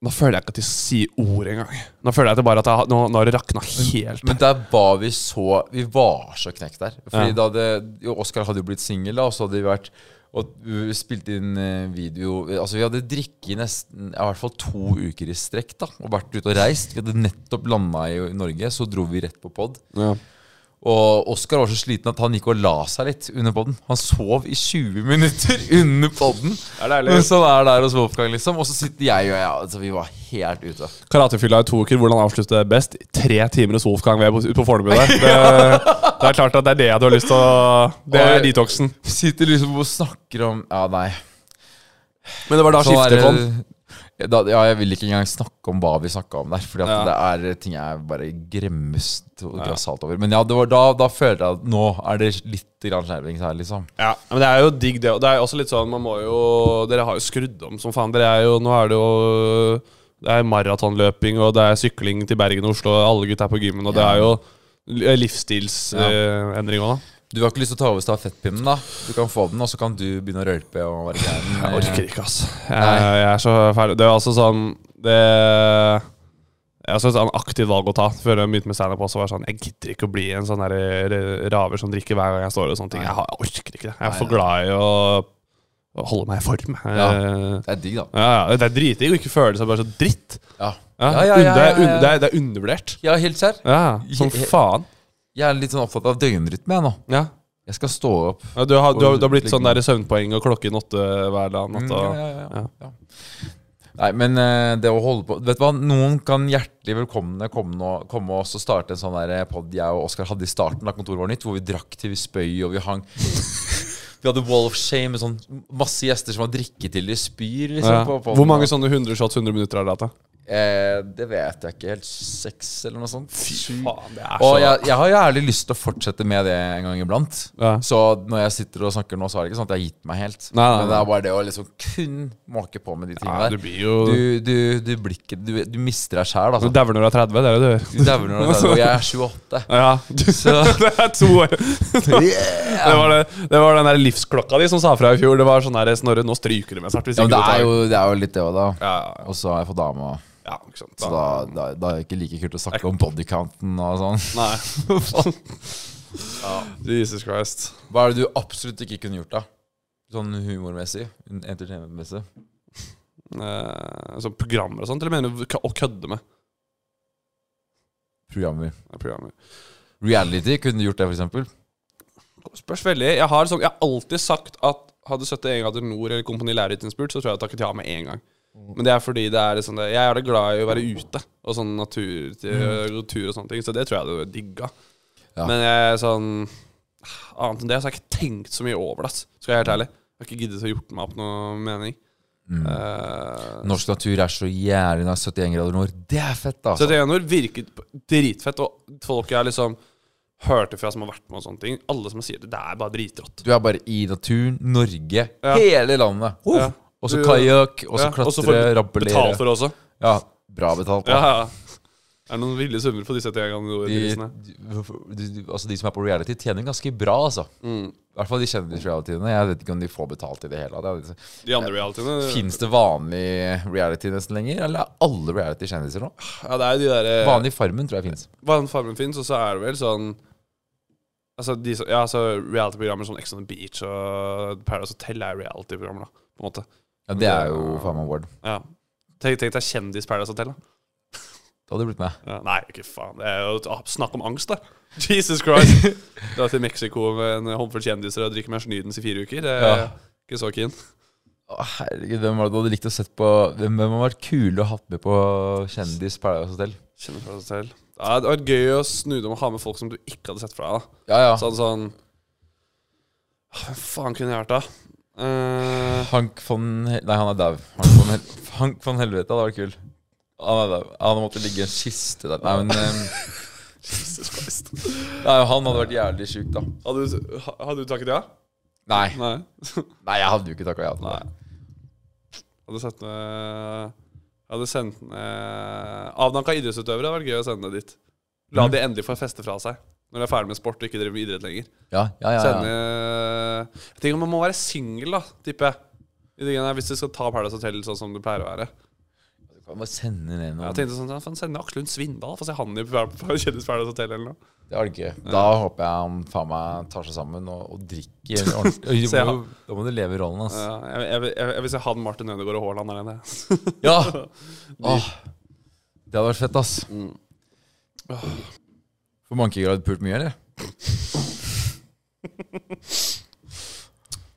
S3: Nå føler jeg ikke at de sier ord engang. Nå føler jeg at det bare at jeg, har- nå, nå har det rakna helt.
S4: Men der var vi så Vi var så knekt der. Fordi
S3: Ja.
S4: da hadde jo, Oskar hadde jo blitt singel, da, og så hadde vi vært og vi spilte inn eh, video Altså Vi hadde drikket i nesten ja, i hvert fall to uker i strekk. da Og vært ute og reist. Vi hadde nettopp landa i Norge, så dro vi rett på pod.
S3: Ja.
S4: Og Oskar var så sliten at han gikk og la seg litt under podden. Han sov i 20 minutter under podden.
S3: er deilig.
S4: Mens han er der hos Wolfgang, liksom. Og så sitter jeg og jeg altså, Vi var helt ute.
S3: Karatefylla i to uker, hvordan avslutte det best? Tre timer hos Wolfgang Web ute på Fornebu der. Det, det er klart at det er det du har lyst til å Det er
S4: Oi.
S3: detoxen.
S4: Sitter liksom og snakker om Ja, nei.
S3: Men det var da
S4: Sånn er
S3: skiftet
S4: det-
S3: kom.
S4: Da, ja, jeg vil ikke engang snakke om hva vi snakka om der. Fordi at
S3: Ja.
S4: det er eh, ting jeg bare gremmes og grassat over. Men ja, det var da, da føler jeg at nå er det litt grann skjervings her, liksom.
S3: Ja, men det er jo digg, det. Og det er jo også litt sånn, man må jo Dere har jo skrudd om som faen. Dere er jo Nå er det jo Det er maratonløping, og det er sykling til Bergen og Oslo, og alle gutta er på gymmen, og det er jo livsstilsendring òg, da.
S4: Du har ikke lyst til å ta over stafettpinnen, da? Du kan få den, og så kan du begynne å rølpe og være gæren.
S3: Jeg orker ikke, ass. Jeg, jeg er så ferdig. Det er altså sånn Det Jeg synes det er en aktiv valg å ta. Før jeg begynte med standup også, var jeg sånn Jeg gidder ikke å bli en sånn der raver som drikker hver gang jeg står og sånne ting. Jeg, har- jeg orker ikke det. Jeg er for glad i å å holde meg i form.
S4: Ja.
S3: Eh,
S4: Det er digg, da.
S3: Ja, ja, Det er dritdigg å ikke føle seg bare så dritt.
S4: Ja.
S3: Ja,
S4: Ja, ja, ja,
S3: Det, er,
S4: ja, ja,
S3: un- det, er, det er undervurdert.
S4: Ja, helt sær.
S3: Ja, Som
S4: Jeg-
S3: faen.
S4: Jeg er litt sånn opptatt av døgnrytme, jeg nå.
S3: Ja.
S4: Jeg skal stå opp.
S3: Ja, Du har, du har, du har blitt sånn der søvnpoeng og klokken åtte eh, hver dag. Natt,
S4: Mm, Ja,
S3: og,
S4: ja, ja, ja. Nei, men eh, det å holde på Vet du hva, Noen kan hjertelig velkomne komme, nå- komme oss og starte en sånn der pod jeg og Oskar hadde i starten da kontoret var nytt, hvor vi drakk til vi spøy og vi hang Vi hadde wall of shame med sånn masse gjester som har drikket til de spyr. Liksom,
S3: ja.
S4: på podden.
S3: Hvor mange sånne 100 shots 100 minutter har dere hatt?
S4: Eh, det vet jeg ikke helt. Seks eller noe sånt. Sju.
S3: da?
S4: Og jeg, jeg har jævlig lyst til å fortsette med det en gang iblant.
S3: Ja.
S4: Så når jeg sitter og snakker nå, så er det ikke sånn at jeg har gitt meg helt.
S3: Nei, nei,
S4: Men det
S3: nei.
S4: er bare det å liksom kun måke på med de tingene
S3: Ja,
S4: der.
S3: du blir jo
S4: Du, du, du, blir ikke- du, du mister deg sjæl,
S3: Du
S4: altså.
S3: dauer når du er 30, det er det du gjør.
S4: Du dauer når du er 30, og jeg er 28.
S3: Ja, det er to år. Det var, det, det var den der livsklokka di som sa fra i fjor. Det var sånn der, Snorre, nå stryker du med snart. Hvis
S4: Ja,
S3: ikke
S4: men det
S3: du tar
S4: er jo, det er jo litt det òg, da.
S3: ja, ja,
S4: Og så har jeg fått dame, og-
S3: ja, ikke sant.
S4: så
S3: Da.
S4: da, da, da er det ikke like kult å snakke om bodycounten og sånn.
S3: Nei. Faen. Jesus Christ.
S4: Hva er det du absolutt ikke kunne gjort, da? Sånn humormessig? Entertainmentmessig?
S3: Eh, sånn programmer og sånt, eller mener du k- å kødde med?
S4: Programmer.
S3: Ja, Programmer.
S4: Reality kunne du gjort det, for eksempel.
S3: Spørs veldig. Jeg har, sånn, jeg har alltid sagt at hadde 71 grader nord eller Kompani Lauritzen spurt, så tror jeg jeg hadde takket ja med en gang. Men det er fordi det er sånn, jeg er glad i å være ute og sånn natur, eh, tur og sånne ting, så det tror jeg jeg hadde digga.
S4: Ja.
S3: Men jeg sånn Annet enn det så har jeg ikke tenkt så mye over det, ass. skal jeg være helt ærlig. Jeg har ikke giddet å gjort meg opp noe mening. Eh,
S4: Norsk natur er så jævlig nice. 71 grader nord. Det er fett,
S3: Så
S4: altså.
S3: det ene ord virket dritfett, og folk jeg liksom hørte fra som har vært med og sånne ting, alle som sier det, det er bare dritrått.
S4: Du er bare i naturen. Norge. Hele landet. Uff.
S3: Ja.
S4: Og så
S3: Du-
S4: kajakk, og så
S3: Ja, og så får
S4: klatre,
S3: du
S4: rappellere.
S3: Betalt for det også.
S4: Ja, bra betalt.
S3: Ja,
S4: da.
S3: ja. Det er noen ville summer på de 71
S4: De,
S3: gangene.
S4: de, altså de som er på reality, tjener ganske bra, altså.
S3: Mm.
S4: I hvert fall de kjendisrealityene. Jeg vet ikke om de får betalt i det hele tatt.
S3: De andre realityene
S4: Fins det vanlig reality nesten lenger, eller er alle reality kjendiser nå?
S3: Ja, det er jo de derre
S4: Vanlig Farmen tror jeg fins.
S3: Vanlig Farmen fins, og så er det vel sånn Altså, de, som- ja, altså reality-programmer som Ex on the Beach og Paradise Hotel er reality-programmer, da, på en måte.
S4: Ja, det er jo faen meg Ward.
S3: Ja. Tenk, tenk deg kjendis Paradise Hotel, da.
S4: Da hadde du blitt med.
S3: Ja, nei, ikke faen. Det er jo ah, Snakk om angst, da. Jesus Christ. Dra til Mexico med en håndfull kjendiser og drikke Mercenydens i fire uker. Det er
S4: Ja.
S3: ikke så keen.
S4: Å, herregud, hvem var det du hadde likt å sett på Hvem hvem hadde vært kule å hatt med på Kjendis Paradise Hotel?
S3: Kjenner fra seg selv. Ja, det hadde vært gøy å snu det om å ha med folk som du ikke hadde sett fra deg. da.
S4: Ja, ja.
S3: Sånn sånn Ah, Hvem faen kunne jeg vært, da? Eh,
S4: Hank von Hel Nei, han er dau. Hank, von Hel- Hank von Helvete hadde vært kul. Han er dau. Han måtte ligge i en kiste der. Nei, men ehm,
S3: Jesus Christ.
S4: nei, Han hadde vært jævlig sjuk, da.
S3: Hadde du, ha- hadde du takket ja?
S4: Nei,
S3: Nei.
S4: nei, jeg hadde jo ikke takka ja til det.
S3: Nei. Hadde sett med Jeg hadde sendt med Avdanka idrettsutøvere hadde vært gøy å sende det dit. La de endelig få feste fra seg når de er ferdig med sport og ikke driver med idrett lenger.
S4: Ja, ja, ja,
S3: Sende
S4: ja.
S3: Jeg tenker Man må være singel, da, tipper jeg. I de greiene her, Hvis du skal ta Paradise Hotel sånn som det pleier å være.
S4: Du kan bare sende ned noen.
S3: Jeg tenkte sånn, ja, faen, Sende Aksel Lund Svindal, få se han i Par- Par- Kjendis Paradise Hotel eller noe.
S4: Det var det gøy. Da håper jeg han faen meg tar seg sammen og, og drikker ordentlig.
S3: Se,
S4: Da må,
S3: han-
S4: du- da må du leve i rollen, ass.
S3: Ja, jeg, jeg, vil- jeg, jeg vil se han Martin Ødegaard og Haaland alene.
S4: Ja!
S3: Ah. Mm.
S4: Åh, det hadde vært fett, ass. Får Ah. mankegrad pult mye, eller?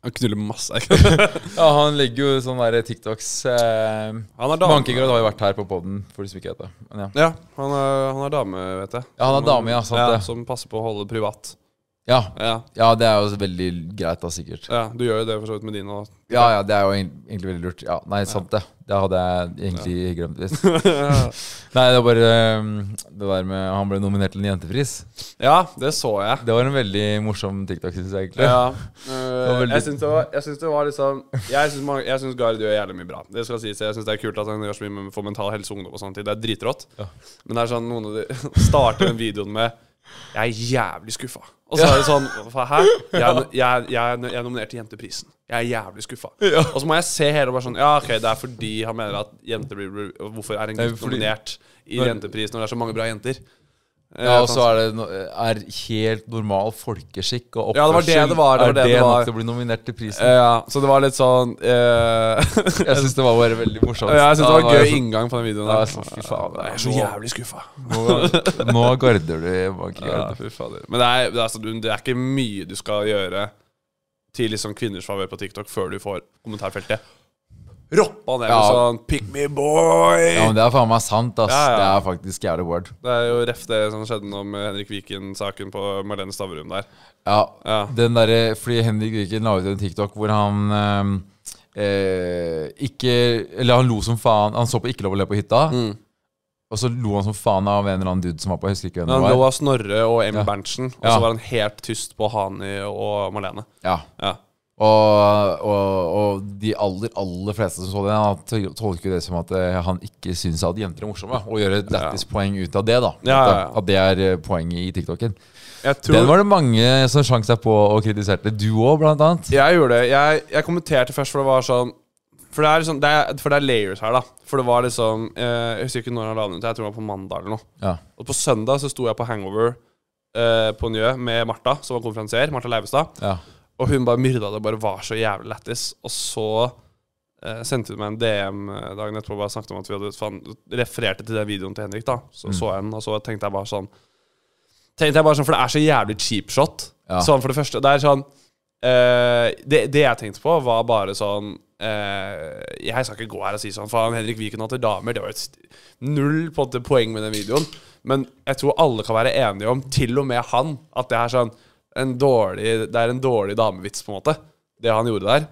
S3: Han knuller masse. er ikke det?
S4: Ja, han legger jo sånne der TikToks. Eh,
S3: Han er dame.
S4: Mankegard har jo vært her på poden, for de som ikke vet det. Men ja.
S3: Ja, han er, han er dame, vet jeg.
S4: Ja, han er dame, ja, sant
S3: ja,
S4: det.
S3: Som passer på å holde det privat.
S4: ja.
S3: Ja,
S4: Ja, det er jo veldig greit, da, sikkert.
S3: ja Du gjør jo det for så vidt med dine òg.
S4: Ja, ja, det er jo egent- egentlig veldig lurt. Ja, Nei, sant det. Det hadde jeg egentlig glemt litt. Nei, det var bare um, det der med Han ble nominert til en jentepris.
S3: Ja, det så jeg.
S4: Det var en veldig morsom TikTok, syns jeg egentlig.
S3: Ja.
S4: var
S3: Eh,
S4: veldig-
S3: jeg syns det, var- jeg syns det var liksom Jeg syns mange- jeg syns Gard gjør jævlig mye bra. Det skal sies, Jeg syns det er kult at han gjør så mye med- for mental helse og ungdom og sånt. Det er dritrått. Men det er sånn noen av de starter den videoen med Jeg er jævlig skuffa. Og så er det sånn hva- Hæ? Jeg, er- jeg, er- jeg, er- jeg er nominert til Jenteprisen. Jeg er jævlig skuffa. Og så må jeg se hele og bare sånn Ja, OK, det er fordi han mener at jenter blir blir- Hvorfor er en
S4: Nei,
S3: gutt
S4: fordi-
S3: nominert i
S4: Når-
S3: Jentepris når det er så mange bra jenter? Eh, at
S4: Ja, og så
S3: han-
S4: er det no- er helt normal folkeskikk og
S3: Ja, det var det
S4: oppførsel.
S3: det var, det var
S4: er
S3: det det var.
S4: nok til å bli nominert til prisen?
S3: Ja, så det var litt sånn eh,
S4: Jeg syns det var bare veldig morsomt.
S3: Ja, jeg synes det
S4: Da
S3: var gøy
S4: jeg
S3: inngang på den videoen.
S4: Ja,
S3: der.
S4: så fy faen,
S3: Jeg er så
S4: nå-
S3: jævlig skuffa.
S4: sånn, Nå, nå garder du Mankegard.
S3: fy fader. Men det er, det, er, altså, du- det er ikke mye du skal gjøre til liksom kvinners favør på TikTok før du får kommentarfeltet roppa ned med
S4: Ja.
S3: sånn 'Pick me, boy'!
S4: Ja, men det er faen meg sant, ass.
S3: Ja, ja.
S4: Det er faktisk jævlig word.
S3: Det er jo ref det som skjedde nå med Henrik Viken-saken på Marlene Stavrum der.
S4: Ja,
S3: Ja.
S4: den derre Fordi Henrik Viken la ut en TikTok hvor han eh, eh, ikke Eller han lo som faen. Han så på Ikke lov å le på hytta.
S3: Mm.
S4: Og så lo han som faen av en eller annen dude som var på. Jeg husker ikke hvem
S3: Han
S4: det
S3: lå
S4: var.
S3: av Snorre og M. Berntsen, og
S4: Ja.
S3: så var han helt tyst på Hani og Marlene.
S4: Ja.
S3: Ja.
S4: Og, og, og de aller aller fleste som så det, han tol- tolker det som at eh, han ikke syns at jenter er morsomme. Og gjør et lættis-poeng ut av det. da
S3: Ja, ja, ja.
S4: At det er eh, poenget i TikToken.
S3: Jeg tror-
S4: Den var det mange som sjang seg på og kritiserte. Du òg, blant annet.
S3: Jeg gjorde det. Jeg, jeg kommenterte først, for det var sånn For det er, liksom, det er, for det er layers her, da. For det var liksom eh, Jeg husker ikke når han la den ut. Jeg tror det var på mandag eller noe.
S4: Ja.
S3: Og på søndag så sto jeg på Hangover eh, på Njø med Martha, som var konferansier. Martha Leivestad.
S4: Ja.
S3: Og hun bare myrda det, bare var så jævlig lættis. Og så eh, sendte hun meg en DM dagen etterpå og bare snakket om at vi hadde fan, refererte til den videoen til Henrik. da Så så jeg den, og så tenkte jeg bare sånn Tenkte jeg bare sånn, For det er så jævlig cheap shot.
S4: Ja.
S3: Sånn for det første Det er sånn eh, det, det jeg tenkte på, var bare sånn eh, Jeg skal ikke gå her og si sånn Faen, Henrik Viken hater damer. Det var jo et st- null på en måte poeng med den videoen. Men jeg tror alle kan være enige om, til og med han, at det er sånn en dårlig, Det er en dårlig damevits, på en måte, det han gjorde der.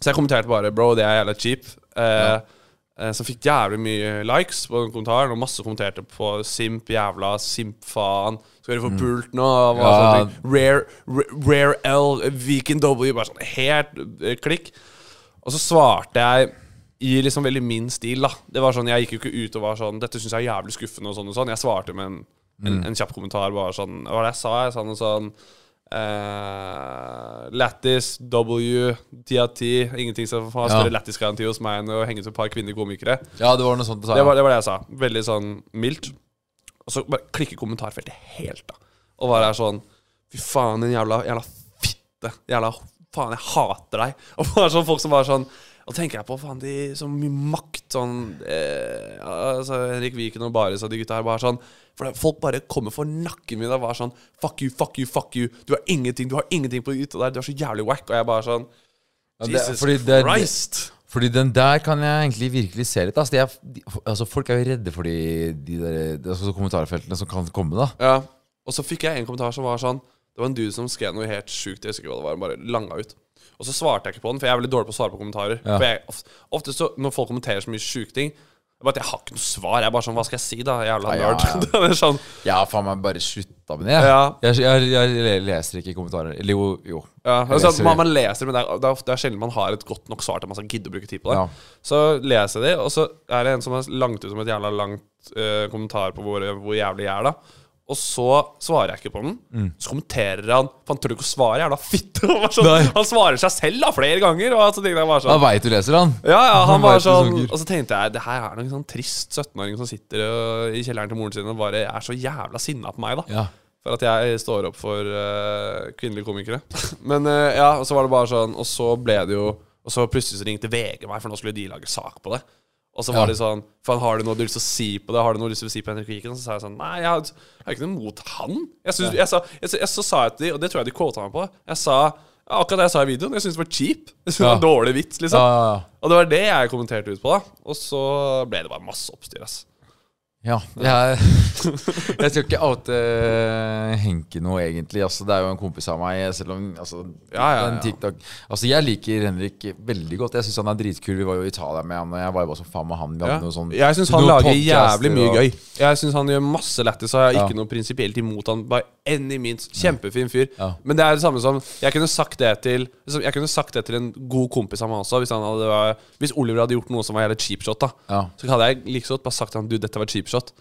S3: Så jeg kommenterte bare 'bro, det er jævla cheap'. Eh, eh, Som fikk jævlig mye likes på den kommentaren, og masse kommenterte på 'simp jævla', 'simp faen', 'skal dere få pult nå?' Og
S4: Ja.
S3: sånne ting. Rare, Ra- rare L, Viken W, bare sånn helt eh, klikk. Og så svarte jeg i liksom veldig min stil, da. Det var sånn, Jeg gikk jo ikke ut og var sånn 'Dette syns jeg er jævlig skuffende', og sånn og sånn. Jeg svarte med en, en, en kjapp kommentar, bare sånn Hva var det jeg sa? Jeg sa noe sånn eh, Lattis, W, 10 av 10 Ingenting som har
S4: Ja.
S3: større lattis-garanti hos meg enn å henge ut et par kvinnelige komikere.
S4: ja, det var noe sånt du sa.
S3: Det
S4: ja.
S3: var, det var det jeg sa. Veldig sånn mildt. Og så bare klikker kommentarfeltet helt, da. Og bare er sånn Fy faen, din jævla, jævla fitte. Jævla Faen, jeg hater deg. Og bare sånn folk som bare sånn Og tenker jeg på faen, de så mye makt sånn eh, altså, Henrik Viken og Baris og de gutta her bare sånn for det, Folk bare kommer for nakken min og bare sånn Fuck you, fuck you, fuck you. Du har ingenting, du har ingenting på gutta der. Du er så jævlig wack. Og jeg bare sånn
S4: Ja, det-
S3: Jesus
S4: fordi det er-
S3: Christ.
S4: Fordi den der kan jeg egentlig virkelig se litt. ass. Det er- de- altså, folk er jo redde for de, de der, altså, kommentarfeltene som kan komme. da
S3: Ja. Og så fikk jeg en kommentar som var sånn Det var en dude som skrev noe helt sjukt. Jeg husker ikke hva det var. Han bare langa ut. Og så svarte jeg ikke på den, for jeg er veldig dårlig på å svare på kommentarer.
S4: Ja.
S3: For jeg, ofte, ofte så, når folk kommenterer så mye sjuke ting det er bare at Jeg har ikke noe svar. Jeg er bare sånn Hva skal jeg si, da? Jævla
S4: Ja, ja,
S3: nerd.
S4: ja.
S3: det er sånn,
S4: Jeg har faen meg bare slutta med det. Jeg.
S3: Ja.
S4: Jeg, jeg, jeg leser ikke kommentarer. Eller jo. jo.
S3: ja.
S4: Jeg
S3: altså,
S4: leser-
S3: man, man leser, men det er, det, er ofte, det er sjelden man har et godt nok svar til at man skal gidde å bruke tid på det.
S4: Ja.
S3: Så leser jeg de, og så er det en som har langt ut som et jævla langt eh, kommentar på hvor, hvor jævlig jeg er, da. Og så svarer jeg ikke på den.
S4: Mm.
S3: Så kommenterer han Faen, tør du ikke å svare, jævla fitte? Og bare Sånn, han svarer seg selv da flere ganger. Og altså, ting der bare
S4: Da
S3: sånn
S4: veit du leser han.
S3: ja, ja, han
S4: Han
S3: var
S4: vet det
S3: sånn
S4: suger.
S3: Og så tenkte jeg det her er noen sånn trist 17-åring som sitter øh, i kjelleren til moren sin og bare er så jævla sinna på meg, da.
S4: Ja.
S3: For at jeg står opp for øh, kvinnelige komikere. Men øh, ja, og så var det bare sånn Og så ble det jo Og så plutselig så ringte VG meg, for nå skulle de lage sak på det. Og så var
S4: Ja.
S3: de sånn Faen, har du noe du har lyst til å si på det? Har du noe du har lyst til å si på Henrik Viken? Så sa jeg sånn Nei, jeg har, jeg har ikke noe mot han. Jeg synes, jeg sa, jeg, jeg, så sa jeg til de, og det tror jeg de quota meg på, jeg sa ja, akkurat det jeg sa i videoen. Jeg syntes det var cheap. Jeg synes det var en Dårlig vits, liksom.
S4: Ja, ja, ja.
S3: Og det var det jeg kommenterte ut på, da. Og så ble det bare masse oppstyr, ass.
S4: Ja, jeg, jeg skal ikke oute eh, Henke noe, egentlig. Altså, det er jo en kompis av meg. Selv om altså,
S3: Ja, ja,
S4: den
S3: ja.
S4: TikTok Altså, jeg liker Henrik veldig godt. Jeg syns han er dritkul. Vi var jo i Italia med han, og jeg var jo bare så faen med han. Vi hadde noe sånn
S3: Jeg syns han
S4: noen
S3: lager
S4: podcaster
S3: jævlig mye
S4: og-
S3: gøy. Jeg syns han gjør masse lættis, og jeg har
S4: Ja.
S3: ikke noe prinsipielt imot han. By any means. Kjempefin fyr.
S4: Ja.
S3: Men det er det samme som Jeg kunne sagt det til liksom, Jeg kunne sagt det til en god kompis av meg også, hvis, han hadde, vært- hvis Oliver hadde gjort noe som var jævlig cheap shot, da.
S4: Ja.
S3: Så hadde jeg like så godt bare sagt til han Du, dette var cheap shot.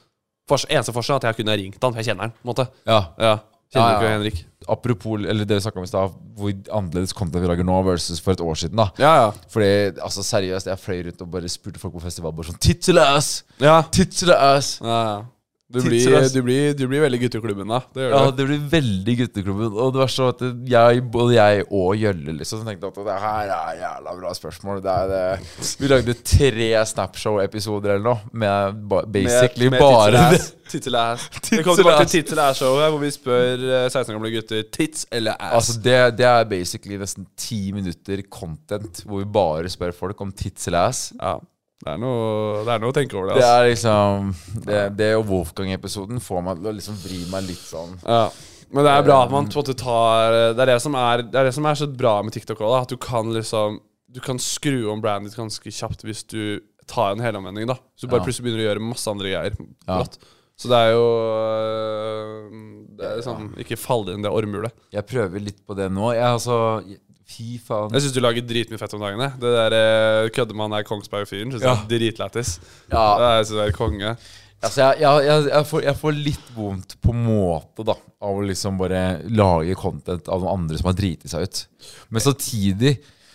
S3: Fors, eneste forskjell er at jeg kunne ha ringt han, for jeg kjenner han. på en måte
S4: Ja.
S3: Ja, Kjenner
S4: Ja,
S3: du
S4: ja.
S3: ikke Henrik?
S4: Apropos eller dere snakka om i stad, hvor annerledes content vi lager nå versus for et år siden. da
S3: Ja, ja.
S4: Fordi, altså seriøst, jeg fløy rundt og bare spurte folk på festival bare sånn Titteløs!
S3: ja.
S4: Titteløs!
S3: ja, ja. Du,
S4: Titser,
S3: blir,
S4: ass.
S3: du, blir, du blir veldig gutteklubben, da. Det gjør
S4: Ja,
S3: du.
S4: det blir veldig gutteklubben. Og det var så at jeg, både jeg og Gjølle liksom tenkte at det her er jævla bra spørsmål. Det er det. Vi lagde tre Snapshow-episoder eller noe med ba basically bare det.
S3: Tittel-ass. Vi kommer tilbake til tittel-ass-showet, hvor vi spør eh, 16 år gamle gutter tits eller ass.
S4: Altså det, det er basically nesten ti minutter content hvor vi bare spør folk om tits eller ass.
S3: ja. det, er noe, det er noe å tenke over, det.
S4: Det
S3: Altså.
S4: er liksom Det, det og Wolfgang-episoden får meg til å liksom vri meg litt sånn
S3: Ja. Men det er bra at
S4: Um,
S3: man på en måte tar eh, Det er det som er, det er, det som er så bra med TikTok også, da, at du kan liksom Du kan skru om brandet ditt ganske kjapt hvis du tar en helomvending. da Så du bare
S4: Ja.
S3: plutselig begynner å gjøre masse andre greier.
S4: Ja.
S3: brått. Så det er jo øh, Det er liksom Ikke fall inn i det ormehjulet.
S4: Jeg prøver litt på det nå. Jeg altså Fy faen.
S3: Jeg syns du lager dritmye fett om dagene. Det der eh, køddemannen er Kongsberg-fyren. Synes jeg er Dritlættis.
S4: Ja.
S3: Det er- Jeg synes det er konge.
S4: Altså, jeg, jeg, jeg, jeg, får, jeg får litt vondt på måte da av å liksom bare lage content av noen andre som har driti seg ut. Men samtidig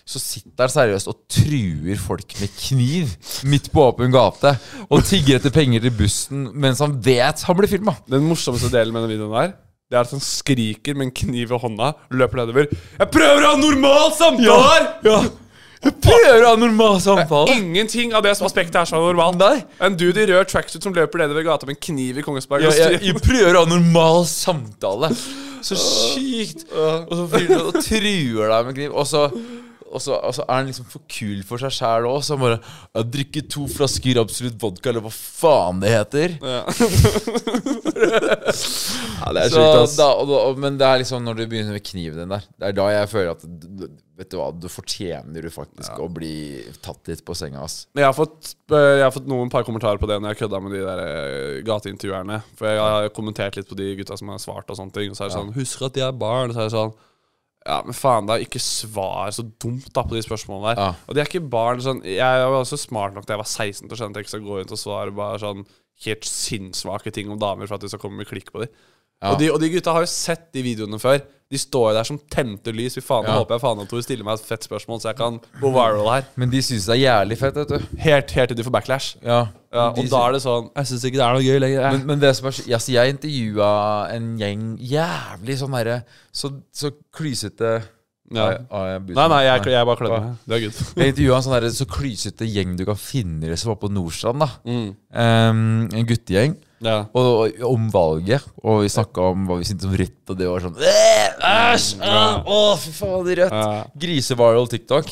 S4: så sitter han seriøst og truer folk med kniv midt på åpen gate. Og tigger etter penger til bussen mens han vet han blir filma.
S3: Den morsomste delen med den videoen der Det er at han skriker med en kniv i hånda, løper nedover. 'Jeg prøver å ha en normal samtale her!'
S4: Jeg prøver å ha en normal samtale.
S3: Ingenting av det som aspektet er så normalt.
S4: Nei.
S3: En dude i rød tracksuit som løper nedover gata med en kniv i Kongsberg.
S4: Jeg, jeg,
S3: og
S4: jeg prøver å ha en normal samtale. Så sykt! Og så fyren og truer deg med kniv. Og så, og, så, og så er han liksom for kul for seg sjæl òg. Så han bare Jeg drikker to flasker absolutt vodka, eller hva faen det heter.
S3: det
S4: Så da, og da, og, men det er liksom når du begynner med kniven din der, det er da jeg føler at du- du- Vet du hva, du fortjener du faktisk å bli tatt litt på senga, ass.
S3: Men Jeg har fått, eh, jeg har fått noen par kommentarer på det når jeg kødda med de der eh, gateintervjuerne. For jeg har kommentert litt på de gutta som har svart og sånne ting. Og så er det sånn 'Husk at de er barn.' Og så er det sånn Ja, men faen, da. Ikke svar så dumt da på de spørsmålene der.
S4: Ja.
S3: Og de er ikke barn. sånn Jeg var også smart nok da jeg var 16 til å skjønne at jeg ikke skal gå rundt og svare bare sånn helt sinnssvake ting om damer for at du skal komme med klikk på dem. Og, de, og de gutta har jo sett de videoene før. De står jo der som tente lys. Fy faen, nå
S4: Ja.
S3: håper jeg faen at Tor stiller meg et fett spørsmål, så jeg kan gå viral her.
S4: Men de syns det er jævlig fett, vet du.
S3: Helt, helt til de får backlash.
S4: Ja,
S3: Ja, og
S4: de
S3: da er det sånn Jeg syns ikke det er noe gøy lenger. Eh.
S4: Men, men det som er så- altså, Jeg intervjua en gjeng jævlig sånn herre Så, så klysete
S3: ja.
S4: Nei, ah, jeg bytter.
S3: Nei, nei, jeg, jeg bare klemmer.
S4: Ah.
S3: Det er good.
S4: Jeg intervjua en sånn herre så klysete gjeng du kan finne som var på Nordstrand. da
S3: Mm.
S4: Ehm, En guttegjeng.
S3: Ja.
S4: Og, og om valget. Og vi snakka om hva vi syntes om Rødt, og det var sånn «Øh, Æsj! øh, Å, fy faen, Rødt!
S3: Ja.
S4: Griseviral TikTok.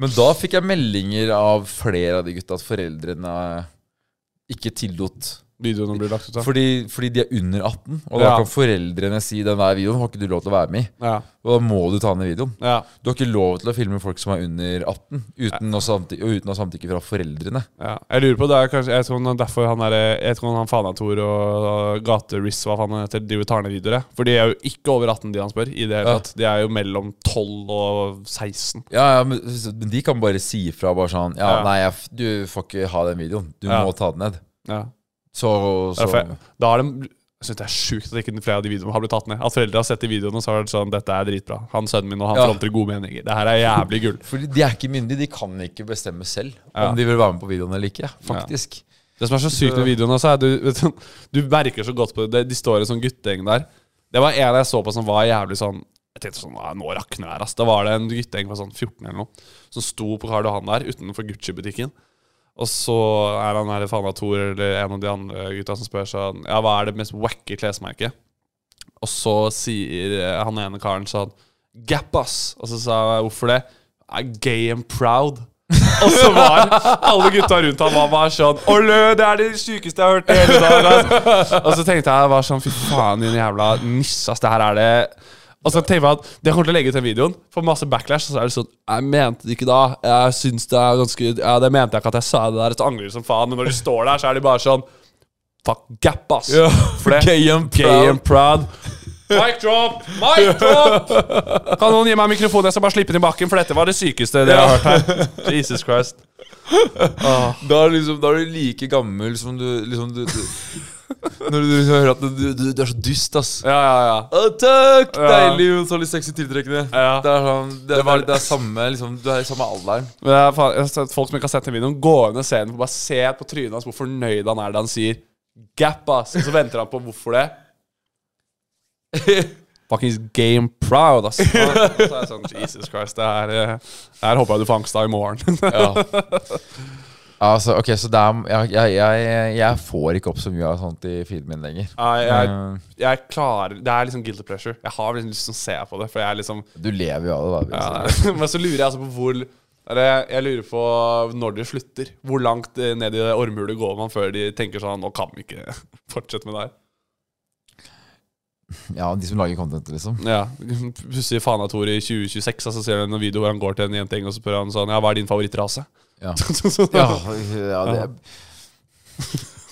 S4: Men da fikk jeg meldinger av flere av de gutta at foreldrene ikke tillot
S3: Videoene blir lagt ut, da.
S4: Fordi, fordi de er under 18, og da
S3: Ja.
S4: kan foreldrene si den der videoen har ikke du lov til å være med i.
S3: Ja.
S4: Og da må du ta ned videoen.
S3: Ja.
S4: Du har ikke lov til å filme folk som er under 18, uten, å, samtykke, og uten å ha samtykke fra foreldrene.
S3: ja. Jeg lurer på det er kanskje Jeg tror han- derfor han er Jeg vet ikke om han Fanator og og Gate-Riz hva faen han heter, driver og tar ned videoer. jeg. For de er jo ikke over 18, de han spør. I det hele
S4: Ja.
S3: tatt. De er jo mellom 12 og 16.
S4: Ja, ja, men, men de kan bare si ifra bare sånn Ja,
S3: Ja.
S4: nei, jeg, f- du får ikke ha den videoen. Du
S3: Ja.
S4: må ta den ned.
S3: Ja.
S4: Så, så
S3: Derfor jeg- Da har de jeg synes Det er sjukt at ikke flere av de videoene har blitt tatt ned. At foreldre har sett de videoene og så har vært sånn Dette er dritbra. Han sønnen min og han
S4: Ja.
S3: fronter gode meninger. Det her er jævlig gull.
S4: Fordi de er ikke myndige. De kan ikke bestemme selv
S3: Ja.
S4: om de vil være med på videoen eller ikke. Faktisk.
S3: Det som er så sykt med videoen også, er du, vet du, du merker så godt på det. De står i en sånn guttegjeng der. Det var en jeg så på som var jævlig sånn Jeg tenkte sånn "Nei, Nå rakner det her, ass. Da var det en guttegjeng på sånn 14 eller noe som sto på Karl Johan der utenfor Gucci-butikken. Og så er han her i Fana Thor eller en av de andre gutta som spør sånn Ja, hva er det mest wacky klesmerket? Og så sier eh, han ene karen sånn Gap, ass! Og så sa jeg hvorfor det? «Jeg Er gay and proud. Og så var alle gutta rundt ham var bare sånn Olø, det er det sykeste jeg har hørt i hele dag! ass!» Og så tenkte jeg bare sånn Fy faen, din jævla niss, ass. Det her er det og så tenkte jeg at Det kommer til å legge ut den videoen. For masse backlash. Og så er det sånn Jeg mente det ikke da. Jeg syns det er ganske Ja, det mente jeg ikke at jeg sa det der. Så angrer du som faen. Men når du står der, så er de bare sånn Fuck gap, ass. For det
S4: Gay and
S3: Gay
S4: proud.
S3: and proud. Mic drop! Mic drop! Kan noen gi meg mikrofonen? Jeg skal bare slippe den i bakken, for dette var det sykeste dere har hørt her. Jesus Christ.
S4: Da er, du liksom, da er du like gammel som du liksom du, du, Når du hører at du, du, du er så dyst, ass.
S3: Ja, ja, ja.
S4: Å, takk!
S3: Ja.
S4: Deilig og så litt sexy tiltrekkende.
S3: Ja.
S4: Det er sånn, det,
S3: Det var-
S4: det, er- det er samme liksom, Du er i samme alderen.
S3: Men jeg, faen, jeg har sett folk som ikke har sett den videoen, gå inn i scenen og bare se på trynet hans hvor fornøyd han er da han sier 'gap', ass. Og så venter han på hvorfor det. Fuckings game proud, ass. Så er jeg sånn, Jesus Christ, det her, eh, her håper jeg du får angst av i morgen.
S4: Ja. altså, ok, så det er, jeg, jeg, jeg, jeg får ikke opp så mye av sånt i feeden min lenger.
S3: Nei, jeg,
S4: Eh,
S3: jeg klarer Det er liksom guilty pleasure. Jeg har liksom lyst til å se på det, for jeg er liksom
S4: Du lever jo av det,
S3: Ja,
S4: da. liksom. vil jeg si.
S3: det er- Men så lurer jeg altså på hvor eller jeg lurer på når det slutter. Hvor langt eh, ned i det ormhulet går man før de tenker sånn Nå kan vi ikke fortsette med det her.
S4: Ja, de som lager content, liksom.
S3: Ja, Pussig faen av Tor i 2026, og så ser du en video hvor han går til en jente og så spør han sånn Ja, hva er din favorittrase?
S4: Ja.
S3: Så- så-
S4: ja, ja det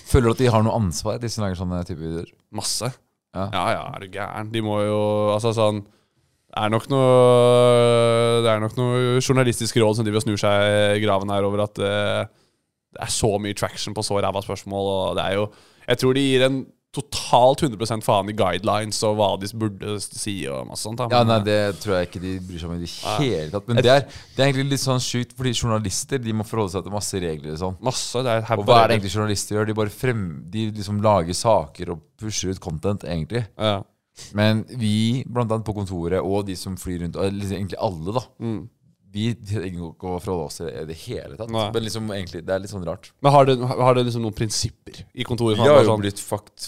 S4: Føler du at de har noe ansvar, de som lager sånne type videoer?
S3: Masse.
S4: Ja.
S3: ja ja, er du gæren. De må jo Altså sånn det er, nok noe, det er nok noe journalistisk råd som driver og snur seg i graven her over at eh, det er så mye traction på så ræva spørsmål, og det er jo Jeg tror de gir en totalt 100 faen i guidelines og hva de burde si og masse sånt. da,
S4: Ja,
S3: men- eh,
S4: nei, Det tror jeg ikke de bryr seg om i det hele tatt. Men det er, det er egentlig litt sånn sjukt, fordi journalister de må forholde seg til masse regler. og sånn
S3: Masse. Det er
S4: Og hva er det egentlig journalister gjør? De bare frem, de liksom lager saker og pusher ut content, egentlig.
S3: Ja.
S4: Men vi, blant annet på kontoret, og de som flyr rundt, og liksom egentlig alle, da Vi trenger jo ikke å forholde oss til det i det hele tatt.
S3: Nei.
S4: Men liksom egentlig, det er litt sånn rart.
S3: Men har dere har dere liksom noen prinsipper i kontoret? sånn-
S4: Vi har jo blitt fakt,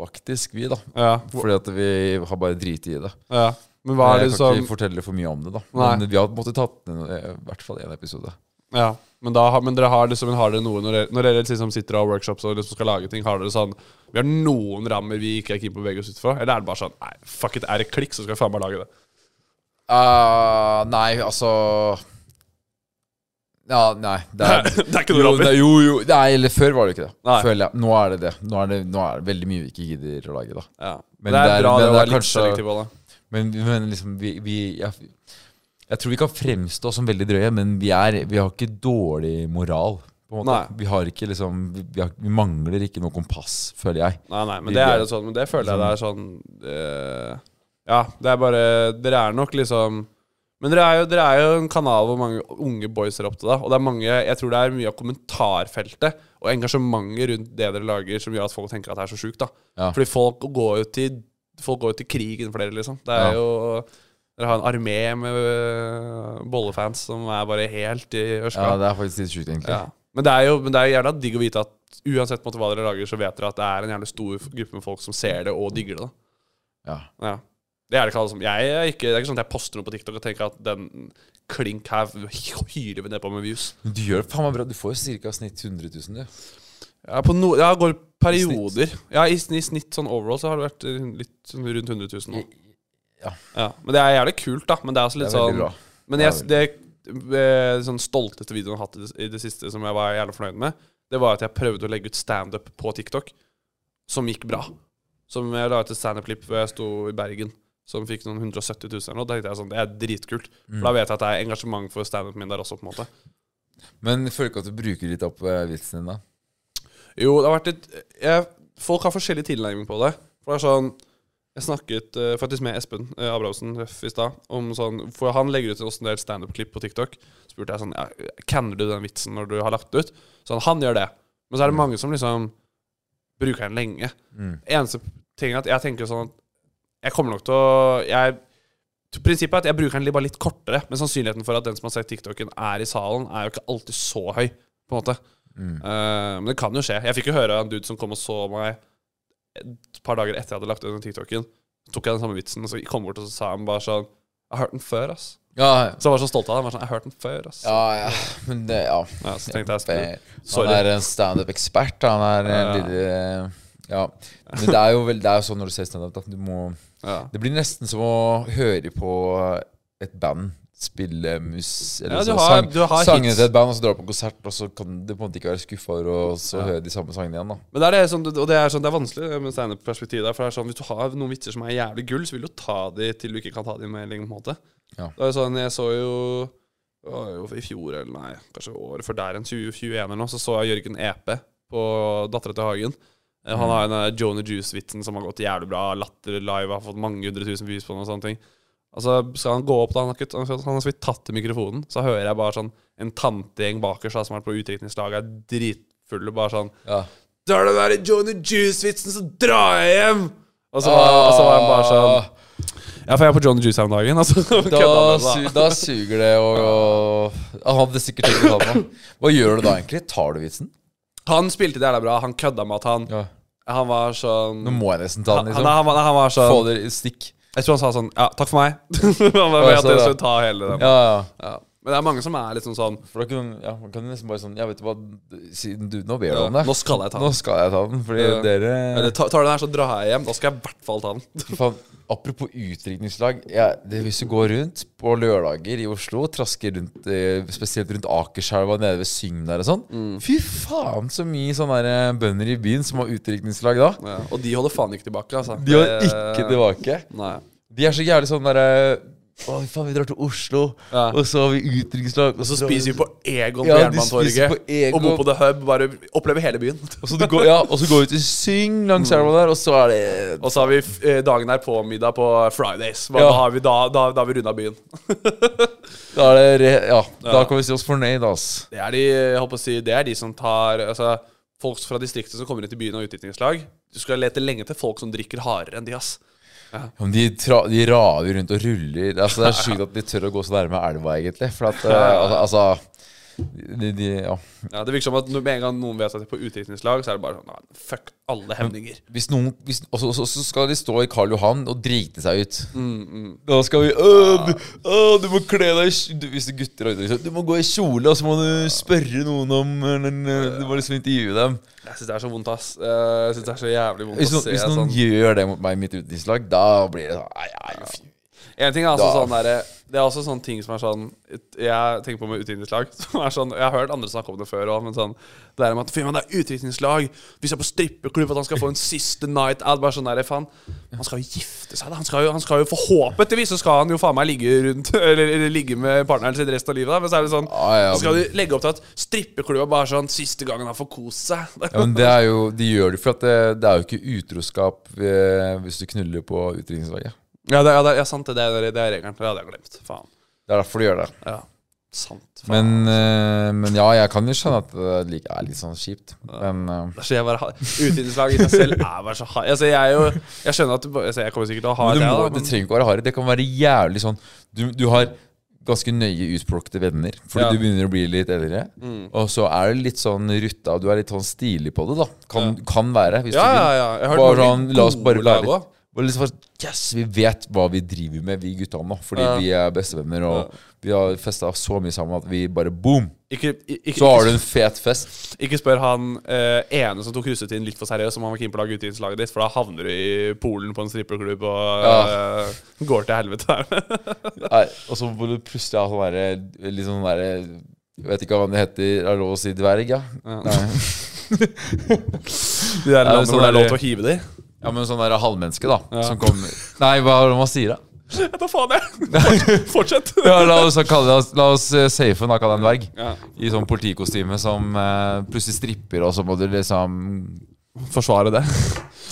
S4: faktisk, vi, da.
S3: ja.
S4: Fordi at vi har bare driti i det.
S3: ja. Men hva er
S4: jeg
S3: det
S4: kan
S3: som
S4: ikke fortelle for mye om det, da.
S3: Nei.
S4: Men vi har måttet tatt ned eh, i hvert fall én episode.
S3: Ja, men, da, har- men dere har, liksom, har dere noe når dere, når dere liksom sitter og har workshops og liksom skal lage ting, har dere sånn Vi har noen rammer vi ikke er keen på å bevege oss utfor? Eller er det bare sånn Nei, fuck it, er det klikk, så skal vi faen meg lage det.
S4: Ah, nei, altså Ja, nei. Det er,
S3: det er ikke noe
S4: jo,
S3: rammer.
S4: nei, jo, jo. Nei, eller før var det ikke det.
S3: Nei.
S4: Føler jeg. Nå er det det. Nå er det, nå er det veldig mye vi ikke gidder å lage, da.
S3: Ja.
S4: Men
S3: Men det er,
S4: det er-
S3: bra
S4: men
S3: det å
S4: det er
S3: være litt
S4: kanskje-
S3: selektiv på det.
S4: Men, men liksom, vi, vi jeg, jeg tror vi kan fremstå som veldig drøye, men vi, er, vi har ikke dårlig moral. På en måte.
S3: Nei.
S4: Vi har ikke liksom vi, vi, har, vi mangler ikke noe kompass, føler jeg.
S3: Nei, nei, men
S4: Vi-
S3: det er jo sånn Men det føler jeg det er sånn eh, Ja, det er bare Dere er nok liksom Men dere er jo, dere er jo en kanal hvor mange unge boys er opptatt av. Og det er mange Jeg tror det er mye av kommentarfeltet og engasjementet rundt det dere lager, som gjør at folk tenker at det er så sjukt. da
S4: Ja.
S3: Fordi folk går jo til Folk går jo til krigen for dere, liksom. Det er
S4: Ja.
S3: jo Dere har en armé med øh, bollefans som er bare helt i ørska.
S4: Ja, Det er faktisk litt sjukt, egentlig.
S3: Ja. Men det er jo men det er jævla digg å vite at uansett på en måte hva dere lager, så vet dere at det er en jævlig stor gruppe med folk som ser det og digger det.
S4: Ja.
S3: da ja. Det er det ikke alle som Jeg er ikke, det er ikke sånn at jeg poster noe på TikTok og tenker at den klink her hyler vi nedpå med views.
S4: Men Du gjør det faen meg bra. Du får jo ca. snitt 100 000, du.
S3: Ja, på no, jeg går perioder. Ja, i, sn- I snitt sånn overall så har det vært eh, litt sånn rundt 100 000 nå.
S4: Ja.
S3: Men det er jævlig kult, da. Men det er også
S4: Det
S3: litt
S4: er veldig
S3: sånn
S4: bra.
S3: Men jeg, det eh, sånn stolteste videoen jeg har hatt i det, i det siste, som jeg var jævlig fornøyd med, det var at jeg prøvde å legge ut standup på TikTok, som gikk bra. Som jeg la ut et standup-klipp hvor jeg sto i Bergen, som fikk noen 170 000 eller noe. Da tenkte jeg sånn, det er dritkult. For da vet jeg at det er engasjement for standupen min der også, på en måte.
S4: Men føler du ikke at du bruker litt opp eh, vitsen din, da?
S3: Jo, det har vært litt jeg, Folk har forskjellig tilnærming på det. For det er sånn Jeg snakket eh, faktisk med Espen eh, Abrahamsen ref, i stad om sånn For han legger ut en del standup-klipp på TikTok. Så spurte jeg sånn ja, Canner du den vitsen når du har lagt det ut? Sånn, han gjør det. Men så er det mange som liksom bruker den lenge. Eneste ting er at jeg tenker sånn at Jeg kommer nok til å jeg, Prinsippet er at jeg bruker den litt- bare litt kortere, men sannsynligheten for at den som har sett TikToken, er i salen, er jo ikke alltid så høy. på en måte. Eh, men det kan jo skje. Jeg fikk jo høre av en dude som kom og så meg et par dager etter jeg hadde lagt ut den TikToken. Så tok jeg den samme vitsen, og så kom jeg bort og så sa han bare sånn Jeg har hørt den før, ass.
S4: Ja,
S3: Så jeg var så stolt av deg. Jeg var sånn, jeg har hørt den før, ass.
S4: ja, ja. Men det, ja.
S3: Ja, så tenkte jeg skulle
S4: Han
S3: Sorry.
S4: er en standup-ekspert. Han er en lille eh, Ja. Men det er jo vel, det er jo sånn når du ser standup, at du må
S3: ja.
S4: Det blir nesten som å høre på et band spille mus eller
S3: Ja, du
S4: så
S3: har- du har
S4: sangene
S3: hits.
S4: til et band, og så drar du på konsert, og så kan du på en måte ikke være skuffa over å så høre de samme sangene igjen. da
S3: Men det er, det, som- og det, er sånn, det er vanskelig med standup-perspektivet. der, For det er sånn, Hvis du har noen vitser som er jævlig gull, så vil du ta de til du ikke kan ta de mer. lenger, på en måte.
S4: Ja.
S3: Det er jo sånn, Jeg så jo, det var jo i fjor, eller nei, kanskje året før der, en 2021 eller noe, så så jeg Jørgen Epe på Dattera til Hagen. Eh, Han har den der Jonah Juice-vitsen som har gått jævlig bra. Latter live har fått mange hundre tusen views på den. og sånne ting. Altså, Skal han gå opp da? Han har, ikke, han har så vidt tatt i mikrofonen. Så hører jeg bare sånn en tantegjeng bakers da, som har vært på utdrikningslaget, er dritfulle. bare sånn
S4: Ja.
S3: det er den der Johnny Juice-vitsen, så drar jeg hjem! Og så, var, og så var han bare sånn
S4: Ah.
S3: Ja, for jeg er på Johnny Juice her om dagen. Altså, kødda
S4: Da,
S3: med
S4: su
S3: det, da.
S4: da suger det å å- Han hadde sikkert tenkt på det. Hva gjør du da, egentlig? Tar du vitsen?
S3: Han spilte det jævla bra. Han kødda med at han
S4: Ja.
S3: Han var sånn
S4: Nå må jeg nesten ta
S3: han,
S4: den,
S3: han,
S4: liksom.
S3: han, var- han var
S4: Få
S3: sånn
S4: det i stikk.
S3: Jeg tror han sa sånn Ja, takk for meg. han var
S4: Ja,
S3: med at
S4: så
S3: jeg
S4: det.
S3: skulle ta hele den.
S4: Ja, ja.
S3: Ja. Men det er mange som er liksom sånn
S4: For da kan, ja, man kan nesten bare sånn Ja, vet du hva, siden du nå ber du
S3: ja,
S4: om det,
S3: Nå skal jeg ta
S4: nå
S3: den.
S4: skal jeg ta den. Fordi
S3: Ja.
S4: dere
S3: Eller ta- tar du den her, så drar jeg hjem. Da skal jeg i hvert fall ta den.
S4: Faen, apropos utdrikningslag. Ja, det, hvis du går rundt på lørdager i Oslo, trasker rundt, eh, spesielt rundt Akerselva, nede ved Syng der og sånn
S3: Mm.
S4: Fy faen, så mye sånne der, eh, bønder i byen som har utdrikningslag da.
S3: Ja. Og de holder faen ikke tilbake, altså.
S4: De var ikke tilbake.
S3: Nei.
S4: De er så jævlig sånn derre Å, faen, vi drar til Oslo,
S3: Ja.
S4: og så har vi utdrikningslag.
S3: Og så spiser vi på Egon på
S4: Ja, de
S3: Jernbanetorget.
S4: spiser på Egon.
S3: Og bor på The Hub. Bare opplever hele byen.
S4: Og så du går, ja, og så går vi til Syng langs elva der, og så er det
S3: Og så har vi f- eh, dagen der på middag på Fridays. Hva,
S4: Ja.
S3: Da har vi, da, da, da har vi runda byen.
S4: Da er det re, ja, da kan vi si oss fornøyd, ass.
S3: Det er de, eh, jeg holdt på å si, det er de som tar altså, Folk fra distriktet som kommer inn til byen og utdrikningslag. Du skal lete lenge til folk som drikker hardere enn de, ass.
S4: Ja, men de, tra de raver rundt og ruller. Altså, det er sjukt at de tør å gå så nærme elva, egentlig. For at, eh, altså, altså de, de, ja.
S3: Ja, det virker som at når- med en gang noen vet at de er på utdrikningslag, så er det bare sånn nei, Fuck alle hemninger.
S4: Hvis noen hvis, Og så- så så skal de stå i Karl Johan og drite seg ut. Da skal vi «Åh, du, åh, du må kle deg i kj- du, Hvis det er gutter og gutter, Du må gå i kjole, og så må du spørre noen om eller, eh, Du må liksom intervjue dem.
S3: Jeg syns det er så vondt, ass. Eh, Jeg synes det er så jævlig vondt
S4: Hvis
S3: å
S4: noen,
S3: se
S4: hvis noen
S3: sånn.
S4: gjør det mot meg i mitt utenrikslag, da blir det sånn Nei, nei, fy.
S3: En ting er altså
S4: Da-
S3: sånn der, Det er også sånn ting som er sånn Jeg tenker på med utdrikningslag. Som er sånn, jeg har hørt andre snakke om det før òg, men sånn Det der med at Fy men det er utdrikningslag! Vi skal på strippeklubb, at han skal få en siste night out. Bare sånn der, faen Han skal jo gifte seg, da! Han skal jo, han skal jo forhåpentligvis så skal han jo faen meg ligge rundt Eller, eller ligge med partneren sin resten av livet, da. Men så er det sånn
S4: Ah, ja,
S3: Så skal
S4: men-
S3: du legge opp til at strippeklubba bare er sånn Siste gangen han får kose seg.
S4: Ja, men det er jo, De gjør det for at det, det er jo ikke utroskap eh, hvis du knuller på utdrikningslaget.
S3: Ja, det, ja, det, ja sant det. Det er, det er regelen. Det hadde jeg glemt. Faen.
S4: Det er derfor de gjør det.
S3: Ja. Sant. Faen.
S4: Men, eh, men ja, jeg kan jo skjønne at det er like- er litt sånn kjipt. Men eh,
S3: Altså, jeg bare har- Utviklingslag i seg selv er bare så hard. Altså, jeg, er jo, jeg skjønner at du, bare- altså, Jeg kommer sikkert til å ha
S4: men
S3: det,
S4: du, må,
S3: da,
S4: det
S3: men
S4: trenger ikke være harry. Det kan være jævlig sånn Du, du har ganske nøye utplukkede venner fordi
S3: Ja. Mm.
S4: du begynner å bli litt eldre. Og så er det litt sånn rutta, og du er litt sånn stilig på det, da. Kan, kan være. Hvis
S3: Ja,
S4: du vil.
S3: ja, ja. Jeg har hørt
S4: Bare sånn,
S3: mange
S4: la oss bare
S3: gode
S4: lære
S3: lag
S4: litt. Bare liksom bare, yes, vi vet hva vi driver med, vi gutta nå. Fordi
S3: Ja.
S4: vi er bestevenner, og vi har festa så mye sammen at vi bare boom!
S3: Ikke, ikke, ikke,
S4: Så har du en fet fest.
S3: ikke spør han eh, ene som tok russetiden litt for seriøst, om han var keen på å lage utviklingslaget ditt, for da havner du i Polen på en strippeklubb og
S4: Ja.
S3: eh, går til helvete der.
S4: Nei, og så må du plutselig ha sånn derre Litt sånn derre jeg vet ikke hva det heter. Er det lov å si dverg, ja? Nei.
S3: De der landene
S4: sånn
S3: hvor det er lov
S4: der-
S3: til å hive de.
S4: Ja, men sånn derre halvmenneske, da. Som kommer Nei, hva er det man sier, da?
S3: Jeg tar faen, jeg! Fortsett.
S4: Ja, la oss kalle det La oss eh, safe en akkurat en dverg.
S3: Ja.
S4: I sånn politikostyme som eh, plutselig stripper, og så må du liksom
S3: forsvare det.